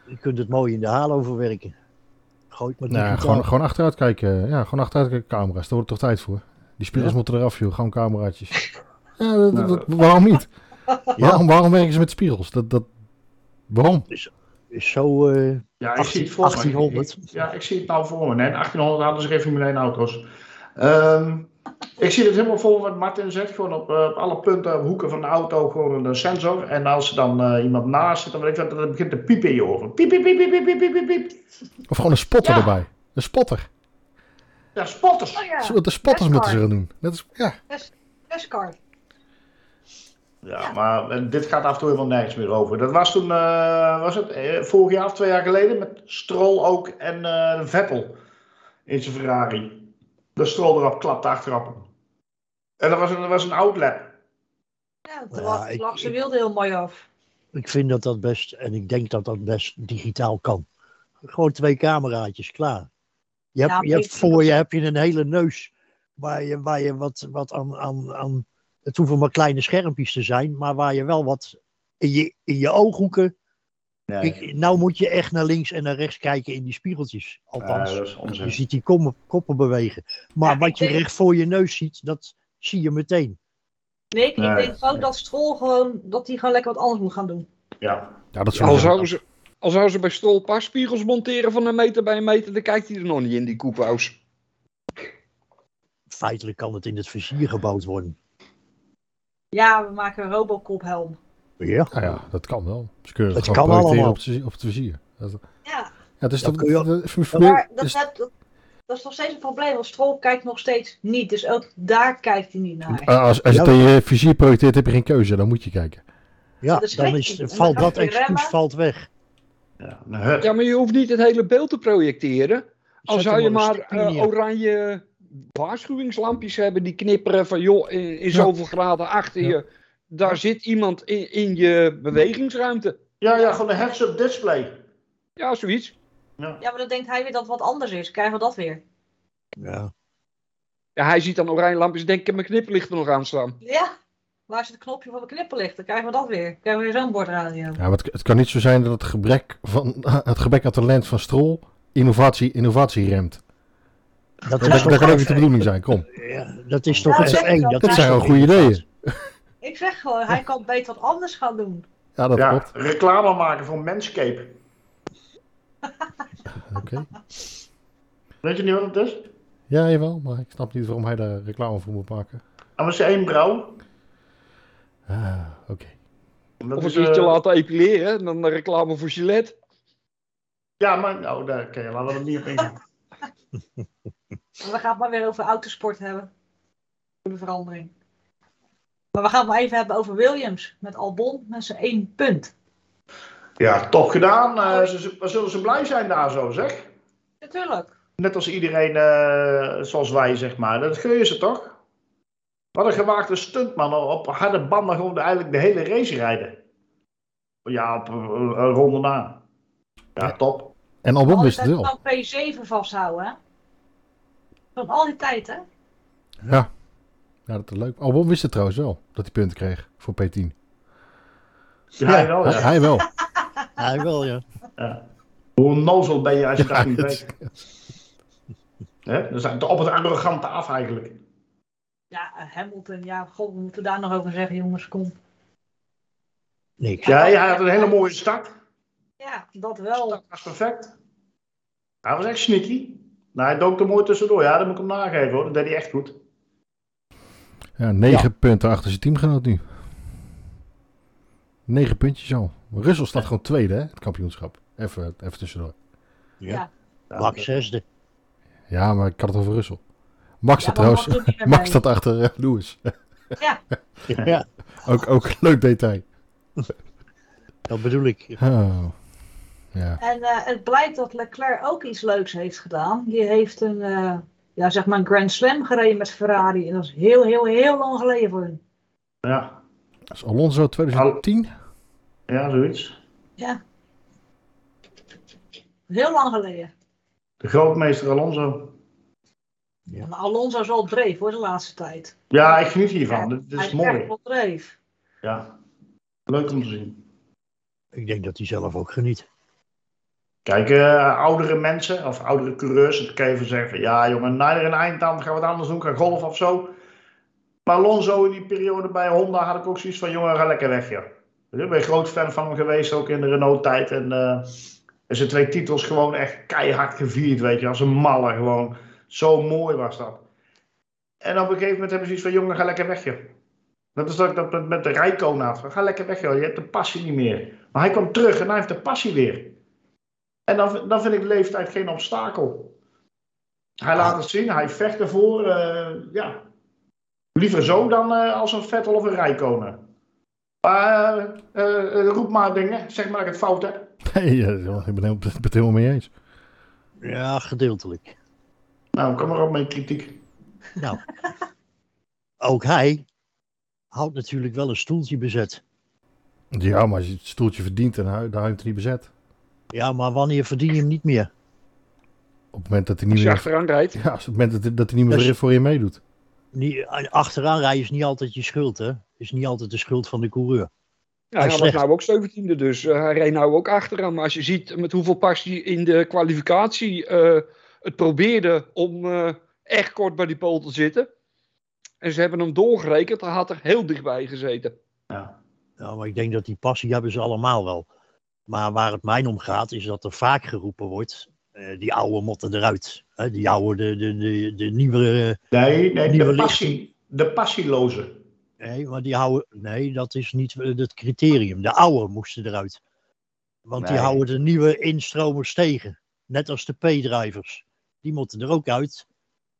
D: Je kunt het mooi in de halo verwerken. Gooit met
C: Nou, gewoon, gewoon achteruit kijken. Ja, gewoon achteruit kijken. Camera's, daar wordt toch tijd voor. Die spiegels
D: Ja.
C: moeten eraf, joh. Gewoon cameraatjes. ja, dat- dat-
B: Nou,
C: waarom niet? Waarom, waarom werken ze met spiegels? Dat, dat, waarom?
D: is zo eh,
B: Ja, ik
D: 18
B: zie het voor me.
D: 1800.
B: Ja, ik zie het nou voor me. Nee, in 1800 hadden ze geen Formule 1 auto's. Ehm, ik zie het helemaal vol wat Martin zegt. Gewoon op, eh, op alle punten, hoeken van de auto, gewoon een sensor. En als er dan eh, iemand naast zit, dan weet ik dat het begint te piepen in je oren. Piep, piep, piep, piep, piep, piep, piep, piep, piep.
C: Of gewoon een spotter
B: Ja.
C: erbij. Een spotter.
B: Ja, spotters.
A: Oh
C: Zo,
A: ja,
C: De spotters
A: Echt
C: moeten ze
A: waar.
C: gaan doen. Dat is, ja.
A: Nescar.
B: Ja, maar eh, dit gaat af en toe helemaal nergens meer over. Dat was toen, eh, was het eh, vorig jaar of twee jaar geleden, met Stroll ook en eh, Vettel in zijn Ferrari. De Stroll erop klapte achterop. En dat was een, dat was een outlap.
A: Ja,
D: Ja,
A: toen lag,
D: ik-
A: lag ze
D: ik-
A: wilde heel mooi af.
D: Ik vind dat dat best, en ik denk dat dat best digitaal kan. Gewoon twee cameraatjes, klaar. Je hebt,
A: Ja, maar
D: je hebt
A: ik-
D: voor je heb je een hele neus waar je, waar je wat, wat aan, aan, aan... Het hoeven maar kleine schermpjes te zijn, maar waar je wel wat in je, in je ooghoeken... Ik, nou moet je echt naar links en naar rechts kijken in die spiegeltjes. Althans,
B: Ja, Eh, dat is onzin.
D: je ziet die kom- koppen bewegen. Maar
A: Ja,
D: wat
A: ik
D: je
A: denk-
D: recht voor je neus ziet, dat zie je meteen.
A: Nee, ik, ik
B: Nee,
A: denk gewoon
B: nee.
A: dat Stroll gewoon, dat hij gewoon lekker wat anders moet gaan doen.
B: Ja.
C: ja, dat
E: Al
C: zullen ze.
E: zouden ze, al zouden ze bij Stol een paar spiegels monteren van een meter bij een meter, dan kijkt hij er nog niet in, die koekwous.
D: Feitelijk kan het in het vizier gebouwd worden.
A: Ja, we maken een Robocop helm.
D: Ja,
C: Nou ja, dat kan wel. Ze kunnen het
D: Het
C: gewoon
D: kan
C: projecteren
D: allemaal.
C: op, het- op het vizier. Dat, ja, dus
A: Ja,
C: het is
D: Dat
C: toch...
D: kun je-
C: de- de- de-
A: maar dat,
C: is-
A: dat, dat, dat is nog steeds een probleem, want Stroll kijkt nog steeds niet. Dus ook daar kijkt hij niet naar.
C: eh, als, als je
D: Ja.
C: het in je vizier projecteert, heb je geen keuze. Dan moet je kijken.
D: ja
A: dat is
D: dan
A: gek.
D: is, valt
A: En dan
D: dat
A: ga je remmen.
D: excuus valt weg.
B: Ja, een hut.
E: Ja, maar je hoeft niet het hele beeld te projecteren. Al
D: Zet
E: zou
D: er
E: je
D: een
E: maar
D: sticker
E: eh,
D: neer.
E: oranje waarschuwingslampjes hebben die knipperen van joh, in, in zoveel graden achter
C: Ja.
E: je. Daar zit iemand in, in je bewegingsruimte.
B: Ja, ja, gewoon een heads-up display.
E: Ja, zoiets.
A: Ja, maar dan denkt hij weer dat het wat anders is. Krijgen we dat weer?
D: Ja.
E: Ja, hij ziet dan oranje lampjes, denk ik, mijn knipperlicht er nog aan staan.
A: Ja, waar is het knopje van mijn knipperlicht? Dan krijgen we dat weer. Dan krijgen we weer zo'n bordradio.
C: Ja, maar het, het kan niet zo zijn dat het gebrek, van, het gebrek aan talent van Strol innovatie, innovatie remt.
D: Dat
C: Dat,
D: is
C: dat
D: toch
C: kan ook niet de bedoeling zijn, kom.
D: Ja, dat is toch
A: Nou,
D: echt
A: zeg
D: één.
A: ik wel.
D: Dat,
C: Dat
D: is
C: zijn
D: toch
C: wel goede
D: één.
C: ideeën.
A: Ik zeg gewoon, hij kan beter wat anders gaan doen.
C: Ja, dat
B: ja,
C: klopt.
B: reclame maken voor Manscape.
C: Oké.
B: Weet je niet wat het is? Ah,
C: Ja, jawel, maar ik snap niet waarom hij daar reclame voor moet maken.
B: En was één brouw.
C: Ah, oké.
B: Dat
E: Of een
B: is,
E: keertje
B: eh,
E: laten epileren en dan een reclame voor Gillette.
B: Ja, maar nou, daar kan je, laten we er niet op ingaan.
A: Maar We gaan het maar weer over autosport hebben. Voor de verandering. Maar we gaan het maar even hebben over Williams. Met Albon met zijn één punt.
B: Ja, toch gedaan. Eh, ze, ze- zullen ze blij zijn daar zo, zeg?
A: Natuurlijk.
B: Net als iedereen eh, zoals wij, zeg maar. Dat gun je ze toch? Wat een gewaagde stuntman. Op harde banden gewoon de- eigenlijk de hele race rijden. Ja, op eh, een ronde na. Ja, top.
C: En
A: Al
D: Oh,
C: Albon
A: die
C: wist het
A: tijd
C: wel.
A: van P7 vasthouden. hè? Van al die tijd, hè?
C: Ja. Ja, dat is leuk. Albon wist het trouwens wel, dat hij punten kreeg voor P10.
B: Ja, hij wel,
C: Hij,
B: Oh, ja.
C: hij wel.
D: Hij wel, ja.
B: Hoe onnozel ben je als je
C: Ja,
B: dat niet
C: dat-
B: weet? Hè? Dat is op het arrogante af eigenlijk.
A: Ja, eh, Hamilton. Ja, god, we moeten daar nog over zeggen, jongens. Kom.
D: Niks.
B: Ja, hij had een hele mooie start.
A: Ja, dat
B: Dat
A: wel.
B: was perfect. Hij was echt sneaky. Nou, hij dook er mooi tussendoor. Ja, dat moet ik hem nageven hoor. Dat deed hij echt goed.
C: Ja, negen punten achter zijn teamgenoot nu. Negen puntjes al. Russell staat gewoon tweede, hè, het kampioenschap. Even, even tussendoor.
A: Ja.
D: Max zesde.
C: Ja, maar ik had het over Russell. Max
A: Ja,
C: staat
A: maar
C: trouwens.
A: Max doet niet meer
C: Max
A: mee.
C: staat achter eh, Lewis.
D: Ja,
C: ook, ook een leuk detail.
D: dat bedoel ik.
C: Oh. Ja.
A: En eh, het blijkt dat Leclerc ook iets leuks heeft gedaan. Die heeft een, eh, ja, zeg maar een Grand Slam gereden met Ferrari. En dat is heel, heel, heel lang geleden voor hem.
B: Ja,
C: Is Alonso 2010?
B: ja zoiets.
A: Ja. Heel lang geleden.
B: De grootmeester Alonso.
A: En Alonso is al dreef hoor, de laatste tijd.
B: Ja, ik geniet hiervan. Dit, dit
A: Hij
B: is
A: is echt
B: mooi.
A: wel dreef.
B: Ja. Leuk om te zien.
D: Ik denk dat hij zelf ook geniet.
B: Kijk, eh, oudere mensen of oudere coureurs, dat kan je even zeggen. van, Ja, jongen, nader en eind aan, gaan we wat anders doen, gaan golf of zo. Maar Alonso in die periode bij Honda had ik ook zoiets van: jongen, ga lekker weg, joh. Ik ben groot fan van hem geweest, ook in de Renault-tijd. En eh en zijn twee titels gewoon echt keihard gevierd, weet je, als een malle gewoon. Zo mooi was dat. En op een gegeven moment hebben ze iets van: jongen, ga lekker weg, joh. Dat is dat ik dat met- met de Rijkoon had. van, Ga lekker weg, joh. Je hebt de passie niet meer. Maar hij kwam terug en hij heeft de passie weer. En dan, dan vind ik leeftijd geen obstakel. Hij laat het zien, hij vecht ervoor. eh, ja. Liever zo dan eh, als een Vettel of een Rijkonen. Maar eh, eh, roep maar dingen, zeg maar dat ik het fout heb.
C: Nee, eh, joh, ik ben, heel- ik ben het helemaal mee eens.
D: Ja, gedeeltelijk.
B: Nou, kom maar op met kritiek.
D: Nou, ook hij houdt natuurlijk wel een stoeltje bezet.
C: Ja, maar als je het stoeltje verdient, dan hou dan hou je het niet bezet.
D: Ja, maar wanneer verdien je hem niet meer?
C: Op het moment dat hij
E: Als
C: niet
E: je
C: meer,
E: achteraan rijdt.
C: ja, als op het moment dat, hij- dat hij niet meer
D: Dus-
C: voor je meedoet.
D: Niet, achteraan rijden is niet altijd je schuld, hè? Is niet altijd de schuld van de coureur.
E: Ja, hij was
D: slecht.
E: nou ook 17e, dus eh, hij reed nou ook achteraan. Maar als je ziet met hoeveel passie in de kwalificatie eh, het probeerde om eh, echt kort bij die pole te zitten. En ze hebben hem doorgerekend, hij had er heel dichtbij gezeten.
D: Ja, Nou, maar ik denk dat die passie hebben ze allemaal wel. Maar waar het mij om gaat, is dat er vaak geroepen wordt: eh, die oude motten eruit. Hè, die oude, de, de, de, de nieuwere.
B: Nee, nee
D: Nieuwe
B: de passie. De passieloze.
D: eh, Nee, maar die oude. Nee, dat is niet eh, het criterium. De oude moesten eruit. Want die
B: Nee.
D: houden de nieuwe instromers tegen. Net als de P-drivers. Die moeten er ook uit.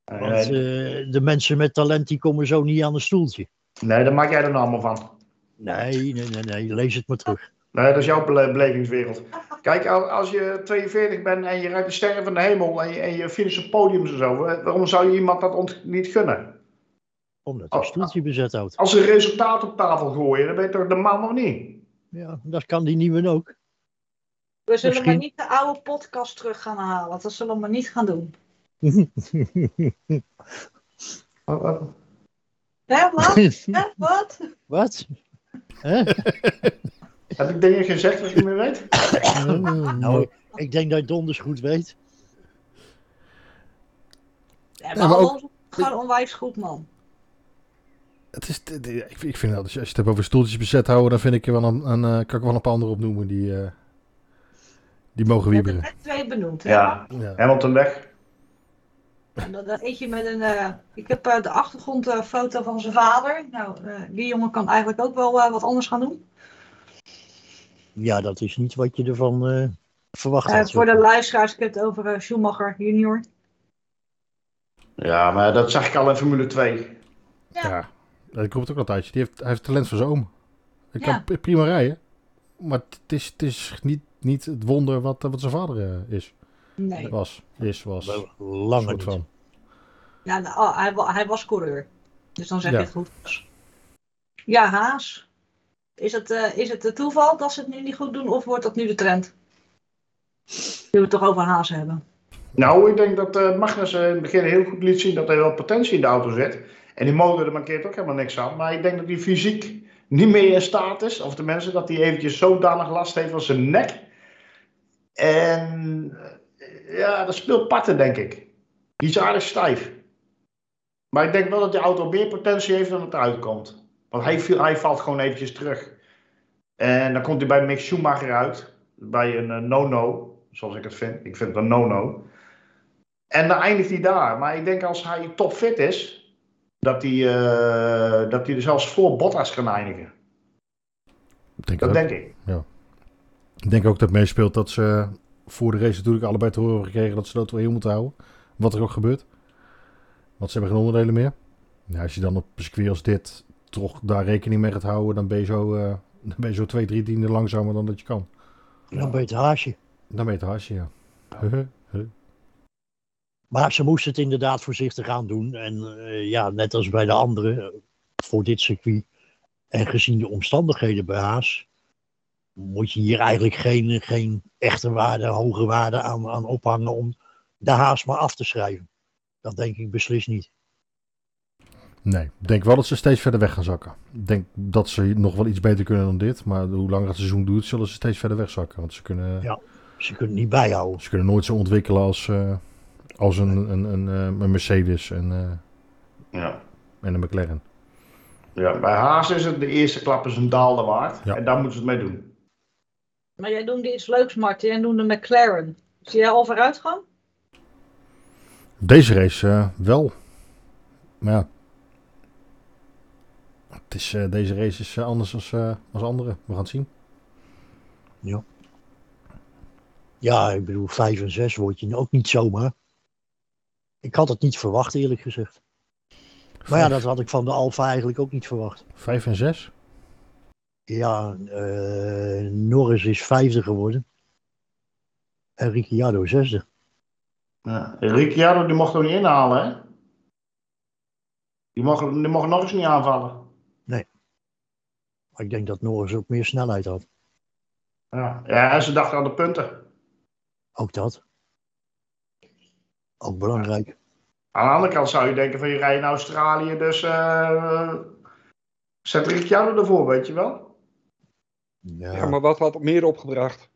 D: Want
B: Nee,
D: eh, de mensen met talent die komen zo niet aan een stoeltje.
B: nee, daar maak jij er nou allemaal van.
D: Nee, nee, nee, nee. Lees het maar terug.
B: Nee, dat is jouw bele- belevingswereld. Kijk, al- als je 42 bent en je rijdt de sterren van de hemel en je, en je finisht op podiums en zo, wa- waarom zou je iemand dat ont- niet gunnen?
D: Omdat
B: Oh.
D: hij een stoeltje bezet houdt.
B: Als ze resultaat op tafel gooien, dan ben je toch de man of niet?
D: Ja, dat kan die nieuwe ook.
A: We zullen
D: Misschien-
A: maar niet de oude podcast terug gaan halen. Dat zullen we maar niet gaan doen.
B: Wat- wat-
A: Hè, wat? Hè, wat?
D: Wat? Hè?
B: Heb ik dingen gezegd wat je niet meer weet?
C: Oh.
D: nou, ik denk dat je donders goed weet.
A: Ja, maar
C: maar ook-
A: Alonso is gewoon onwijs goed, man.
C: Het is, dit- dit- ik, vind- ik vind dat, als je als je het hebt over stoeltjes bezet houden, dan vind ik er wel een, een, eh, kan ik wel een paar andere opnoemen die, eh, die mogen
A: Je hebt er
C: wieberen.
A: net twee benoemd. hè?
B: Ja,
C: Ja.
B: Hamilton weg.
A: En dan, dan eet je met een. eh, ik heb eh, de achtergrondfoto van zijn vader. Nou, eh, die jongen kan eigenlijk ook wel eh, wat anders gaan doen.
D: Ja, dat is niet wat je ervan eh, verwacht
A: Eh,
D: had.
A: voor de luisteraars, ik heb het over eh, Schumacher junior.
B: Ja, maar dat zag ik al in Formule 2.
A: Ja.
C: Ja, dat komt ook wel een tijdje. Die heeft, hij heeft talent voor zijn oom. Hij
A: Ja.
C: kan pri- prima rijden. Maar het is, het is niet, niet het wonder wat, eh, wat zijn vader eh, is.
A: Nee,
C: Was. Is, was.
D: Wel
C: Een
D: Lange
C: soort
D: niet.
C: van.
A: ja, nou, oh, hij, wa- hij was coureur. Dus dan zeg
C: Ja.
A: je het goed. was. Ja, Haas. Is het, eh, is het de toeval dat ze het nu niet goed doen of wordt dat nu de trend? Nu we het toch over Haas hebben.
B: Nou, ik denk dat eh, Magnus eh, in het begin heel goed liet zien dat er wel potentie in de auto zit. En die motor, er mankeert ook helemaal niks aan. Maar ik denk dat die fysiek niet meer in staat is. Of tenminste, dat hij eventjes zodanig last heeft van zijn nek. En eh, ja, dat speelt parten, denk ik. Die is aardig stijf. Maar ik denk wel dat die auto meer potentie heeft dan het eruit komt. Want hij, viel- hij valt gewoon eventjes terug. En dan komt hij bij Mick Schumacher uit. Bij een eh, no-no, zoals ik het vind. Ik vind het een no-no. En dan eindigt hij daar. Maar ik denk als hij topfit is, dat hij, eh, dat hij er zelfs voor Bottas kan eindigen.
C: Ik denk
B: Dat
C: ook.
B: denk ik.
C: Ik denk ook dat meespeelt dat ze voor de race natuurlijk allebei te horen gekregen dat ze de auto heel moeten houden. Wat er ook gebeurt. Want ze hebben geen onderdelen meer. Nou, als je dan op een circuit als dit toch daar rekening mee gaat houden, dan ben je zo, eh, dan ben je zo twee, drie tienden langzamer dan dat je kan.
D: Dan ben je het haasje.
C: Dan ben je het haasje, ja. Huh, huh.
D: Maar ze moest het inderdaad voorzichtig aan doen. En eh, ja, net als bij de anderen, eh, voor dit circuit. En gezien de omstandigheden bij Haas, moet je hier eigenlijk geen, geen echte waarde, hoge waarde aan, aan ophangen om de Haas maar af te schrijven. Dat denk ik beslist niet.
C: Nee, ik denk wel dat ze steeds verder weg gaan zakken. Ik denk dat ze nog wel iets beter kunnen dan dit. Maar hoe langer het seizoen duurt, zullen ze steeds verder wegzakken. Want ze kunnen,
D: Ja. Ze kunnen het niet bijhouden.
C: ze kunnen nooit zo ontwikkelen als, eh, als een, een, een, eh, een Mercedes en, eh,
B: Ja.
C: en een McLaren.
B: Ja, bij Haas is het de eerste klap is een daalde waard.
C: Ja.
B: En daar moeten ze het mee doen.
A: Maar jij doet iets leuks, Martin. Jij doet de McLaren. Zie jij al vooruitgang?
C: Deze race eh, wel. Maar ja. Het is, eh, deze race is eh, anders als, eh, als andere. We gaan het zien.
D: Ja, ik bedoel, vijf en zes word je nou ook niet zomaar. Ik had het niet verwacht, eerlijk gezegd. Maar ja,
C: Vijf-
D: dat had ik van de Alfa eigenlijk ook niet verwacht.
C: Vijf en zes?
D: Ja, eh, Norris is vijfde geworden. En Ricciardo zesde.
B: Ja. Ricciardo, die mocht hem niet inhalen, hè? Die mocht, die mocht nog eens niet aanvallen.
D: Maar ik denk dat Norris ook meer snelheid had.
B: Ja. ja, en ze dachten aan de punten.
D: Ook dat. Ook belangrijk.
B: Aan de andere kant zou je denken van je rijdt naar Australië, dus eh, zet Ricciardo ervoor, weet je wel?
D: Ja,
E: Ja, maar wat had het meer opgebracht?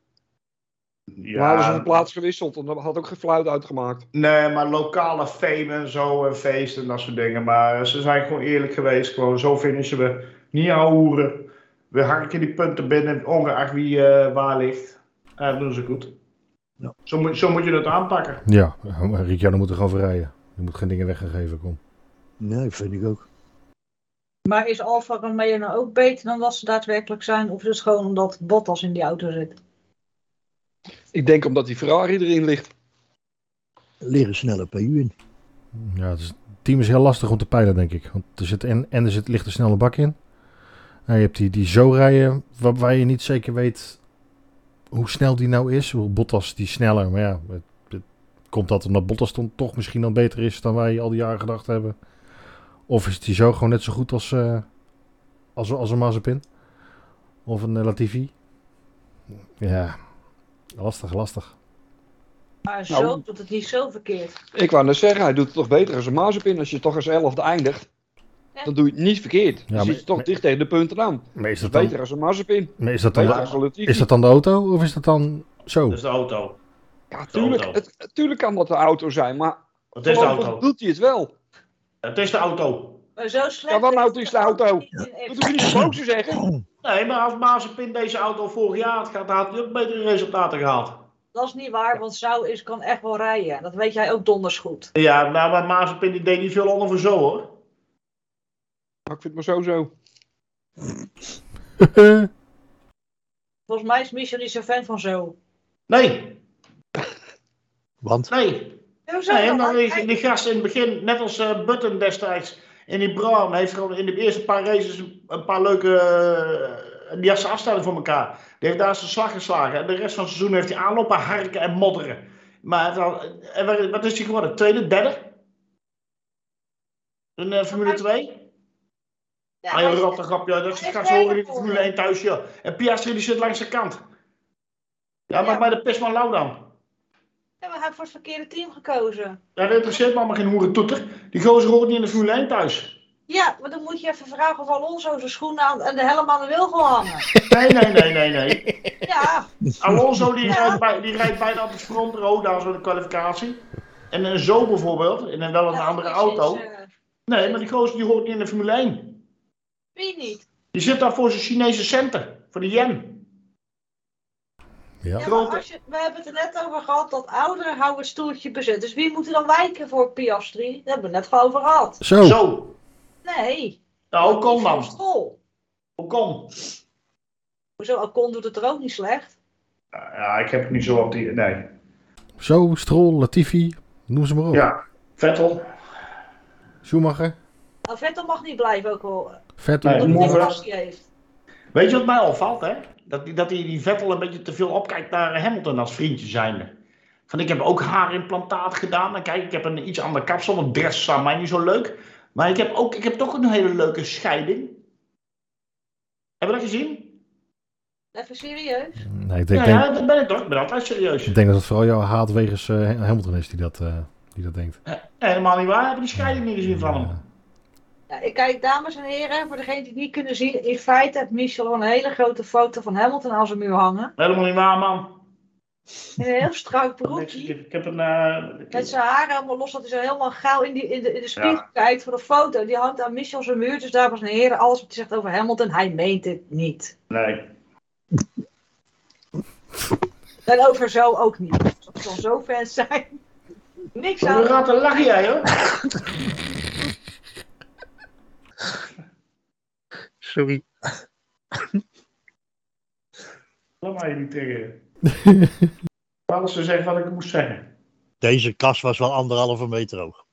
E: Ja. hadden ze de plaats gewisseld en dat had ook geen fluit uitgemaakt.
B: Nee, maar lokale fame en zo en feesten en dat soort dingen. Maar ze zijn gewoon eerlijk geweest. Gewoon zo finishen we. Niet aan hoeren. We harken die punten binnen, ongeacht wie eh, waar ligt. En dat doen ze goed.
D: Ja.
B: Zo, moet, zo moet je dat aanpakken.
C: Ja, eh, Ricciardo moet er gewoon voor rijden. Je moet geen dingen weggegeven, kom.
D: Nee, vind ik ook.
A: Maar is Alfa Romeo nou ook beter dan dat ze daadwerkelijk zijn? Of is het gewoon omdat Bottas in die auto zit?
E: Ik denk omdat die Ferrari erin ligt.
D: Er Liggen snelle PU in.
C: Ja, het, is, het team is heel lastig om te peilen, denk ik. Want er zit en, en er zit, ligt een snelle bak in. En je hebt die, die zo rijden, waarbij je niet zeker weet hoe snel die nou is. Ik bedoel, Bottas die sneller, maar ja, het, het- komt dat omdat Bottas dan toch misschien dan beter is dan wij al die jaren gedacht hebben? Of is die zo gewoon net zo goed als, eh, als, als een Mazepin? Of een eh, Latifi? Ja, lastig, lastig.
A: Maar
E: Nou.
A: zo doet het niet zo verkeerd.
E: Ik wou net zeggen, hij doet het toch beter als een Mazepin. Als je toch als elfde eindigt,
A: Ja.
E: dan doe je het niet verkeerd.
C: Ja,
E: dan
C: maar-
E: zit je toch dicht tegen de punten aan.
C: Maar is dat dan,
E: Beter als een Mazepin.
C: maar is dat dan,
E: Beter
C: de,
E: als een Latifi.
C: is dat dan de auto of is dat dan zo?
B: de auto.
E: Ja,
B: de
E: tuurlijk,
B: auto.
E: het, tuurlijk kan dat de auto zijn, maar
B: Het
E: voorlopig doet hij het wel.
B: Het is de auto.
A: Maar zo slecht.
E: Ja, wat nou, het is de auto.
A: niet in
E: Dat
A: even-
E: hoef je niet boos te zeggen.
B: Nee, maar als Mazepin deze auto vorig jaar had gehad, had hij ook betere resultaten gehaald.
A: Dat is niet waar, want Zou is kan echt wel rijden. Dat weet jij ook donders goed.
B: Ja, nou, maar Mazepin die deed niet veel onder voor zo hoor.
E: Maar ik vind het maar zo zo.
C: Eh,
A: Volgens mij is Michel niet zo'n fan van Zo.
B: Nee,
D: Want
B: nee.
A: Zo zou
B: Nee, en
A: dan
B: dan die,
A: hij-
B: die gast in het begin, net als eh, Button destijds in die Brown, heeft gewoon in de eerste paar races een, een paar leuke. eh, die had zijn afstelling voor elkaar. Die heeft daar zijn slag geslagen. En de rest van het seizoen heeft hij aanlopen, harken en modderen. Maar dan, eh, en waar- wat is hij geworden? Tweede, derde? In eh, Formule 2?
A: Ja,
B: Ah,
A: hij-
B: joh, rot toch op, joh. Dat
A: hij is
B: gaat horen in
A: derde
B: de Formule 1 thuis, joh. En Piastri die zit langs de kant. Ja, maar
A: Ja.
B: bij de Pisman Lau dan.
A: Ja, maar hij heeft voor het verkeerde team gekozen.
B: Ja, dat interesseert me allemaal geen hoerentoeter. Die gozer hoort niet in de Formule 1 thuis.
A: Ja, maar dan moet je even vragen of Alonso zijn schoenen aan en de helm aan de wilgel hangen.
B: Nee, nee, nee, nee, nee.
A: Ja,
B: Alonso die
A: Ja.
B: rijdt, bij, die rijdt bijna op de front row daar zo in de kwalificatie. En een zo bijvoorbeeld, in een, wel een
A: Ja,
B: andere
A: precies,
B: auto.
A: eh,
B: Nee, maar die gozer die hoort niet in de Formule 1.
A: Wie niet?
B: Die zit daar voor zijn Chinese centen, voor de yen.
C: Ja.
A: Ja, maar
B: Grote-
A: als je, we hebben het er net over gehad dat ouderen houden het stoeltje bezet. Dus wie moet er dan wijken voor Piastri? Daar hebben we het net over gehad.
C: Zo.
B: Zo.
A: Nee.
B: Nou, Ocon
A: Die
B: dan.
A: is op school.
B: Ocon.
A: Hoezo, Ocon doet het er ook niet slecht.
B: Nou ja, ik heb het niet zo op die. Nee.
C: Zo, Stroll, Latifi, noem ze maar op.
B: Ja, Vettel.
C: Schumacher,
A: Nou, Vettel mag niet blijven ook al. eh,
C: Vettel.
B: Nee,
A: Omdat hij
B: morgen-
A: geen passie heeft.
B: Weet je wat mij opvalt, hè? Dat, die- dat die, die Vettel een beetje te veel opkijkt naar Hamilton als vriendje zijnde. Van ik heb ook haarimplantaat gedaan. En kijk, ik heb een iets ander kapsel. Een dress staat mij niet zo leuk. Maar ik heb, ook, ik heb toch een hele leuke scheiding. Hebben we dat gezien?
A: Even serieus.
C: Nee, ik denk,
B: Ja,
C: denk-
B: ja, dat ben ik toch. Ik ben altijd serieus.
C: ik denk dat het vooral jouw haat wegens eh, Hamilton is die dat, eh, die dat denkt.
B: Helemaal niet waar. Hebben die scheiding niet gezien van hem?
C: Ja.
A: Ja, ik kijk, dames en heren, voor degenen die het niet kunnen zien. In feite heeft Michel wel een hele grote foto van Hamilton aan zijn muur hangen.
B: Helemaal niet waar, man.
A: In een heel strak
B: Ik,
A: broekje.
B: ik heb een. eh,
A: Met zijn haar helemaal los, dat hij zo helemaal gauw in, die, in, de, in de spiegel kijkt voor de foto. Die hangt aan Michel zijn muur. Dus dames en heren, alles wat hij zegt over Hamilton, hij meent het niet.
B: nee.
A: En over zo ook niet. Dat zal zo fans zijn. Niks
B: Hoe
A: aan.
B: ratten lach jij, hoor?
D: Sorry.
B: Laat mij je niet tegen. Alles te zeggen wat ik moest zeggen.
D: Deze kast was wel anderhalve meter hoog.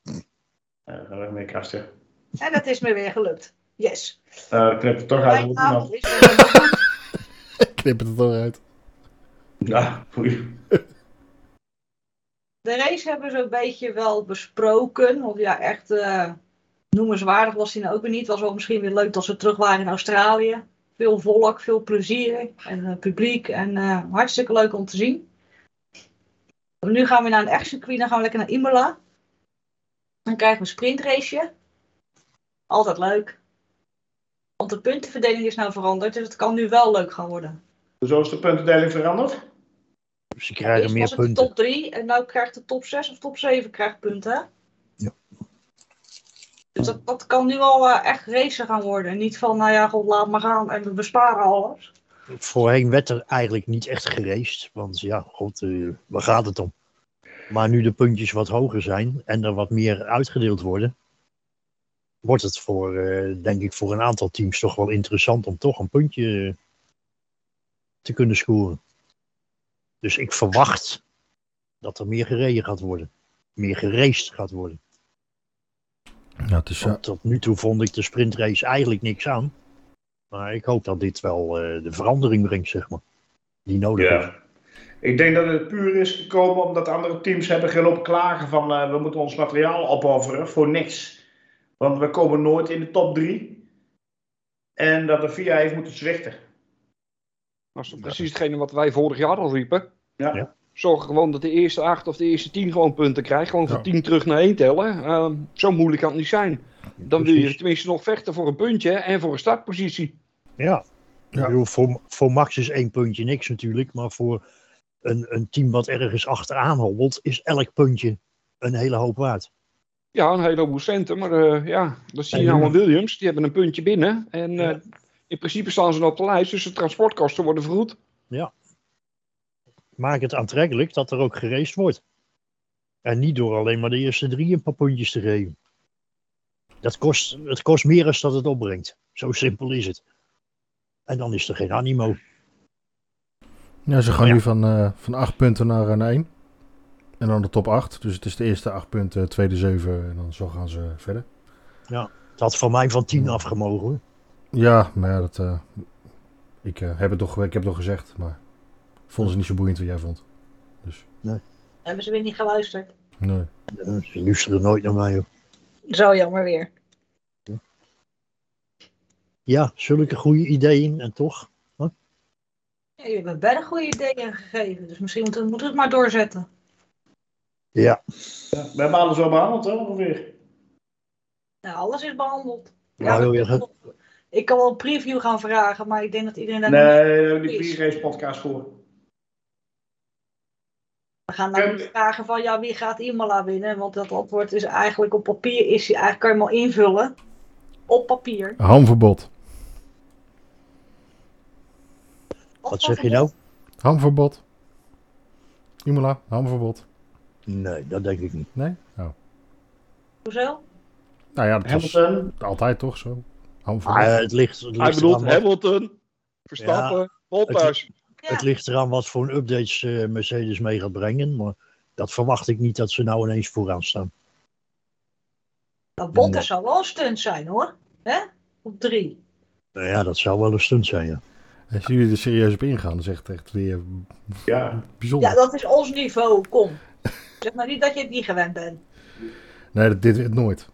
B: Ja, dan gaan we mee kasten.
A: En dat is me weer gelukt. Yes.
B: Nou, dan knipt het toch uit.
A: Mijn
B: moet
A: avond
B: iemand.
A: is weer helemaal goed.
C: Ik knip het er toch uit.
B: Ja, foei.
A: De race hebben ze een beetje wel besproken. Of ja, echt eh, noemenswaardig was hij nou ook weer niet. Was wel misschien weer leuk dat ze terug waren in Australië. Veel volk, veel plezier en eh, publiek. En eh, hartstikke leuk om te zien. Nu gaan we naar een echt circuit. Dan gaan we lekker naar Imola. Dan krijgen we een sprintraceje. Altijd leuk. Want de puntenverdeling is nou veranderd. Dus het kan nu wel leuk gaan worden.
B: Zo is de puntendeling veranderd.
D: Ze
A: Eerst
D: krijgen
A: was
D: meer
A: het de
D: punten.
A: top 3 en nu krijgt de top 6 of top 7 krijgt punten. hè?
D: Ja.
A: Dus dat, dat kan nu al eh, echt racen gaan worden. Niet van, nou ja, god, laat maar gaan en we besparen alles.
D: Voorheen werd er eigenlijk niet echt geraced. Want ja, god, eh, waar gaat het om? Maar nu de puntjes wat hoger zijn en er wat meer uitgedeeld worden, wordt het voor, eh, denk ik, voor een aantal teams toch wel interessant om toch een puntje eh, te kunnen scoren. Dus ik verwacht dat er meer gereden gaat worden. Meer geraced gaat worden.
C: Nou, het is, eh,
D: Want tot nu toe vond ik de sprintrace eigenlijk niks aan. Maar ik hoop dat dit wel eh, de verandering brengt, zeg maar. Die
C: Oh,
D: nodig is.
B: Ik denk dat het puur is gekomen omdat andere teams hebben gelopen klagen van eh, we moeten ons materiaal opofferen voor niks. Want we komen nooit in de top 3. En dat de VIA heeft moeten zwichten.
E: Dat is toch precies hetgene wat wij vorig jaar al riepen.
B: Ja.
D: Ja.
E: Zorg gewoon dat de eerste acht of de eerste tien gewoon punten krijgt. Gewoon van
C: Ja.
E: tien terug naar één tellen. Ehm, zo moeilijk kan het niet zijn. Dan wil je
D: Precies.
E: tenminste nog vechten voor een puntje en voor een startpositie.
D: Ja.
C: Ja.
D: Ik bedoel, voor, voor Max is één puntje niks natuurlijk, maar voor een, een team wat ergens achteraan hobbelt, is elk puntje een hele hoop waard.
E: Ja, een hele hoop centen. Maar eh, ja, dat zie je
D: Ja,
E: nou
D: ja.
E: aan Williams. Die hebben een puntje binnen. En
D: Ja.
E: eh, in principe staan ze nog op de lijst. Dus de transportkosten worden vergoed.
D: Maak het aantrekkelijk dat er ook geraced wordt. En niet door alleen maar de eerste drie een paar puntjes te geven. Dat kost, het kost meer dan dat het opbrengt. Zo simpel is het. En dan is er geen animo.
C: ja, ze gaan
D: Ja.
C: nu van, eh, van 8 punten naar, eh, naar 1. En dan de top 8. Dus het is de eerste 8 punten, tweede 7 en dan zo gaan ze verder.
D: Het had van mij van tien afgemogen. hoor.
C: Ja, maar ja, dat, eh, ik, eh, heb het toch, ik heb het toch gezegd, maar ik vond ze niet zo boeiend wat jij vond.
A: Hebben ze weer niet geluisterd.
C: Nee.
D: Eh, Ze luisteren nooit naar mij. Hoor.
A: Zo jammer weer.
D: Ja, zulke goede ideeën en toch.
A: Ja, jullie hebben wel goede ideeën gegeven. Dus misschien moeten we moeten we het maar doorzetten.
D: Ja.
B: We hebben alles wel behandeld, hè, ongeveer.
A: Nou, alles is behandeld.
D: Maar wil je
A: ik,
D: het-
A: ik kan wel een preview gaan vragen, maar ik denk dat iedereen daar
B: Nee,
A: niet-
B: daar hebben we die
A: Is.
B: pre-race podcast voor.
A: We gaan nou niet vragen van ja, wie gaat Imola winnen? Want dat antwoord is eigenlijk op papier, is hij eigenlijk kan je hem al invullen. Op papier.
C: Hamverbod.
D: Wat zeg je nou?
C: Hamverbod. Imola, hamverbod.
D: Nee, dat denk ik niet.
C: Nee? Oh.
A: Hoezo?
C: Nou ja, dat was
B: Hamilton.
C: altijd toch zo. Hamverbod.
D: Ah, Maar het ligt, het ligt
E: Hij bedoelt
D: eraan wat-
E: Hamilton, Verstappen, Bottas.
A: Ja.
D: Het ligt eraan wat voor een updates eh, Mercedes mee gaat brengen. Maar dat verwacht ik niet dat ze nou ineens vooraan staan.
A: Dat Botten zal wel een stunt zijn hoor. Hè? Op drie.
D: Nou ja, dat zou wel een stunt zijn, ja.
C: Als jullie er serieus op ingaan, dan is echt, echt weer
B: Ja.
C: bijzonder.
A: Ja, dat is ons niveau. Kom. Zeg maar niet dat je het niet gewend bent.
C: Nee, dat- dit nooit.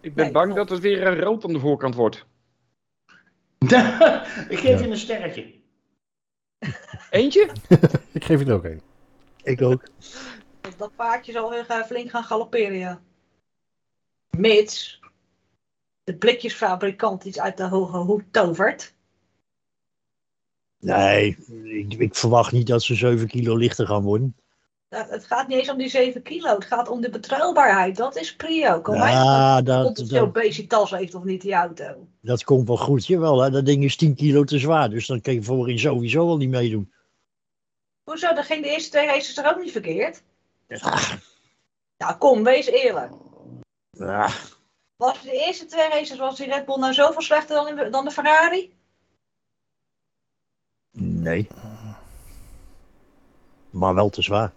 E: Ik ben
A: Nee,
E: bang
A: klopt.
E: dat het weer een rood aan de voorkant wordt.
B: ik geef
C: Ja.
B: je een sterretje.
E: Eentje?
C: Ik geef je er ook een.
D: Ik ook.
A: Dat- Dus Dat paardje zal weer eh, flink gaan galopperen, ja. Mits de blikjesfabrikant iets uit de hoge hoed tovert.
D: Nee, ik, ik verwacht niet dat ze 7 kilo lichter gaan worden.
A: Dat- Het gaat niet eens om die 7 kilo. Het gaat om de betrouwbaarheid. Dat is prio. Kom mij ja,
D: Ja, dat,
A: of het veel
D: dat,
A: obesitas heeft of niet die auto.
D: dat komt wel goed. Jawel, hè? dat ding is 10 kilo te zwaar. Dus dan kan je voorin sowieso al niet meedoen.
A: Hoezo? Dan ging de eerste twee races er ook niet verkeerd?
D: Ja,
A: Nou kom, wees eerlijk.
D: ja,
A: Was de eerste twee races was die Red Bull nou zoveel slechter dan, in- dan de Ferrari?
D: nee. Maar wel te zwaar.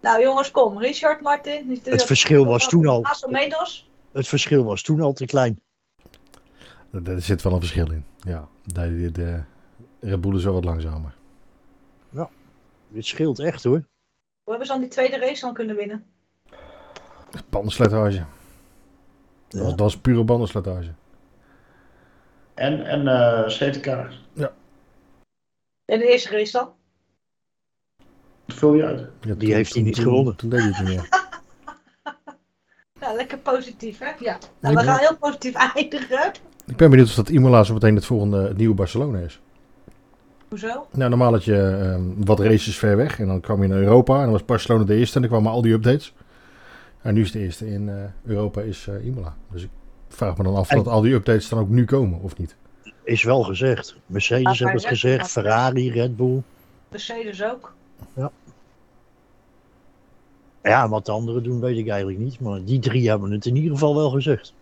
A: Nou jongens, kom. Richard Martin. die-
D: Het verschil was toen al,
A: Naast Medos.
D: het verschil was toen al te klein.
C: Er- Er zit wel een verschil in. Ja, de, de, de Red Bull is wel wat langzamer.
D: Dit scheelt echt hoor.
A: Hoe hebben ze dan die tweede race dan kunnen winnen?
C: Bandenslijtage. Dat, was, dat was pure bandenslijtage.
B: En, en eh CTK.
A: En de eerste race dan?
B: Vul je uit.
C: Ja,
D: Die heeft hij niet gewonnen.
C: Toen deed hij het niet meer.
A: Nou, lekker positief, hè? Ja.
C: Ik
A: Nou, we
C: ben-
A: gaan heel positief eindigen.
C: Ik ben benieuwd of dat Imola zo meteen het volgende het nieuwe Barcelona is.
A: Hoezo?
C: Nou, normaal had je ehm, wat races ver weg en dan kwam je naar Europa en dan was Barcelona de eerste en dan kwamen al die updates. En nu is de eerste in eh, Europa is eh, Imola. Dus ik vraag me dan af
D: En-
C: of dat al die updates dan ook nu komen of niet.
D: Is wel gezegd.
A: Maar
D: Mercedes
A: bij
D: hebben het
A: Red-
D: gezegd, Ferrari, Red Bull.
A: Mercedes ook.
D: Ja, wat de anderen doen weet ik eigenlijk niet. Maar die drie hebben het in ieder geval wel gezegd.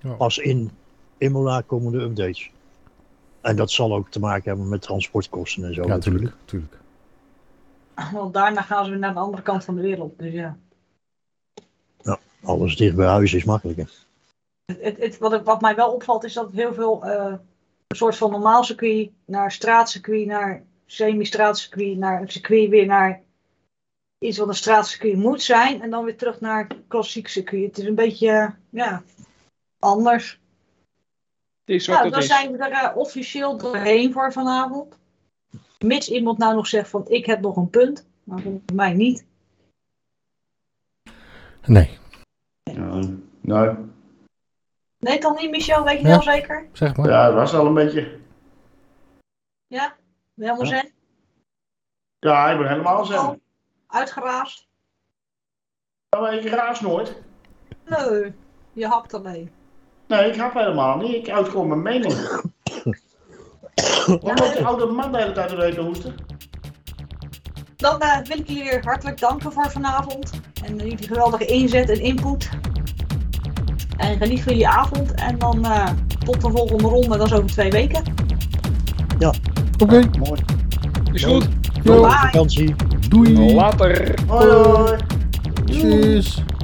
C: Ja.
D: Pas in Imola komen de updates. En dat zal ook te maken hebben met transportkosten en zo
C: ja,
D: Oh, natuurlijk.
C: tuurlijk, tuurlijk.
A: Want daarna gaan ze weer naar de andere kant van de wereld. Dus ja.
D: Alles dicht bij huis is makkelijker.
A: Het, het, het- wat, ik- wat mij wel opvalt is dat heel veel eh, een soort van normaal circuit naar straatcircuit, naar semi-straatcircuit, naar een circuit weer naar iets wat een straatcircuit moet zijn. En dan weer terug naar klassiek circuit. Het is een beetje, eh, ja, anders.
E: Het is wat
A: Nou,
E: het
A: dan
E: is.
A: zijn we er eh, officieel doorheen voor vanavond. Mits iemand nou nog zegt van ik heb nog een punt. Maar volgens mij niet.
C: Nee,
B: Nee.
A: Nee, dan niet, Michel? Weet je
C: Ja.
A: wel zeker?
C: zeg maar.
B: Ja, dat was al een beetje.
A: Ja? Helemaal
B: Ja.
A: zen?
B: Ja, ik ben helemaal
A: Oh.
B: zo.
A: Uitgeraasd?
B: Maar ik raas nooit.
A: Nee, je hapt alleen.
B: Nee, ik hap helemaal niet. Ik houd gewoon mijn mening. Wat moet die oude man de hele tijd doorheen te hoesten?
A: Dan eh, wil ik jullie weer hartelijk danken voor vanavond. En jullie geweldige inzet en input. En geniet van jullie avond. En dan eh, tot de volgende ronde. Dat is over twee weken.
C: Oké,
D: Mooi.
E: Is goed.
C: yo,
A: Bye.
D: Vakantie.
C: doei.
E: Later.
B: Hoi hoi.
C: Tjus.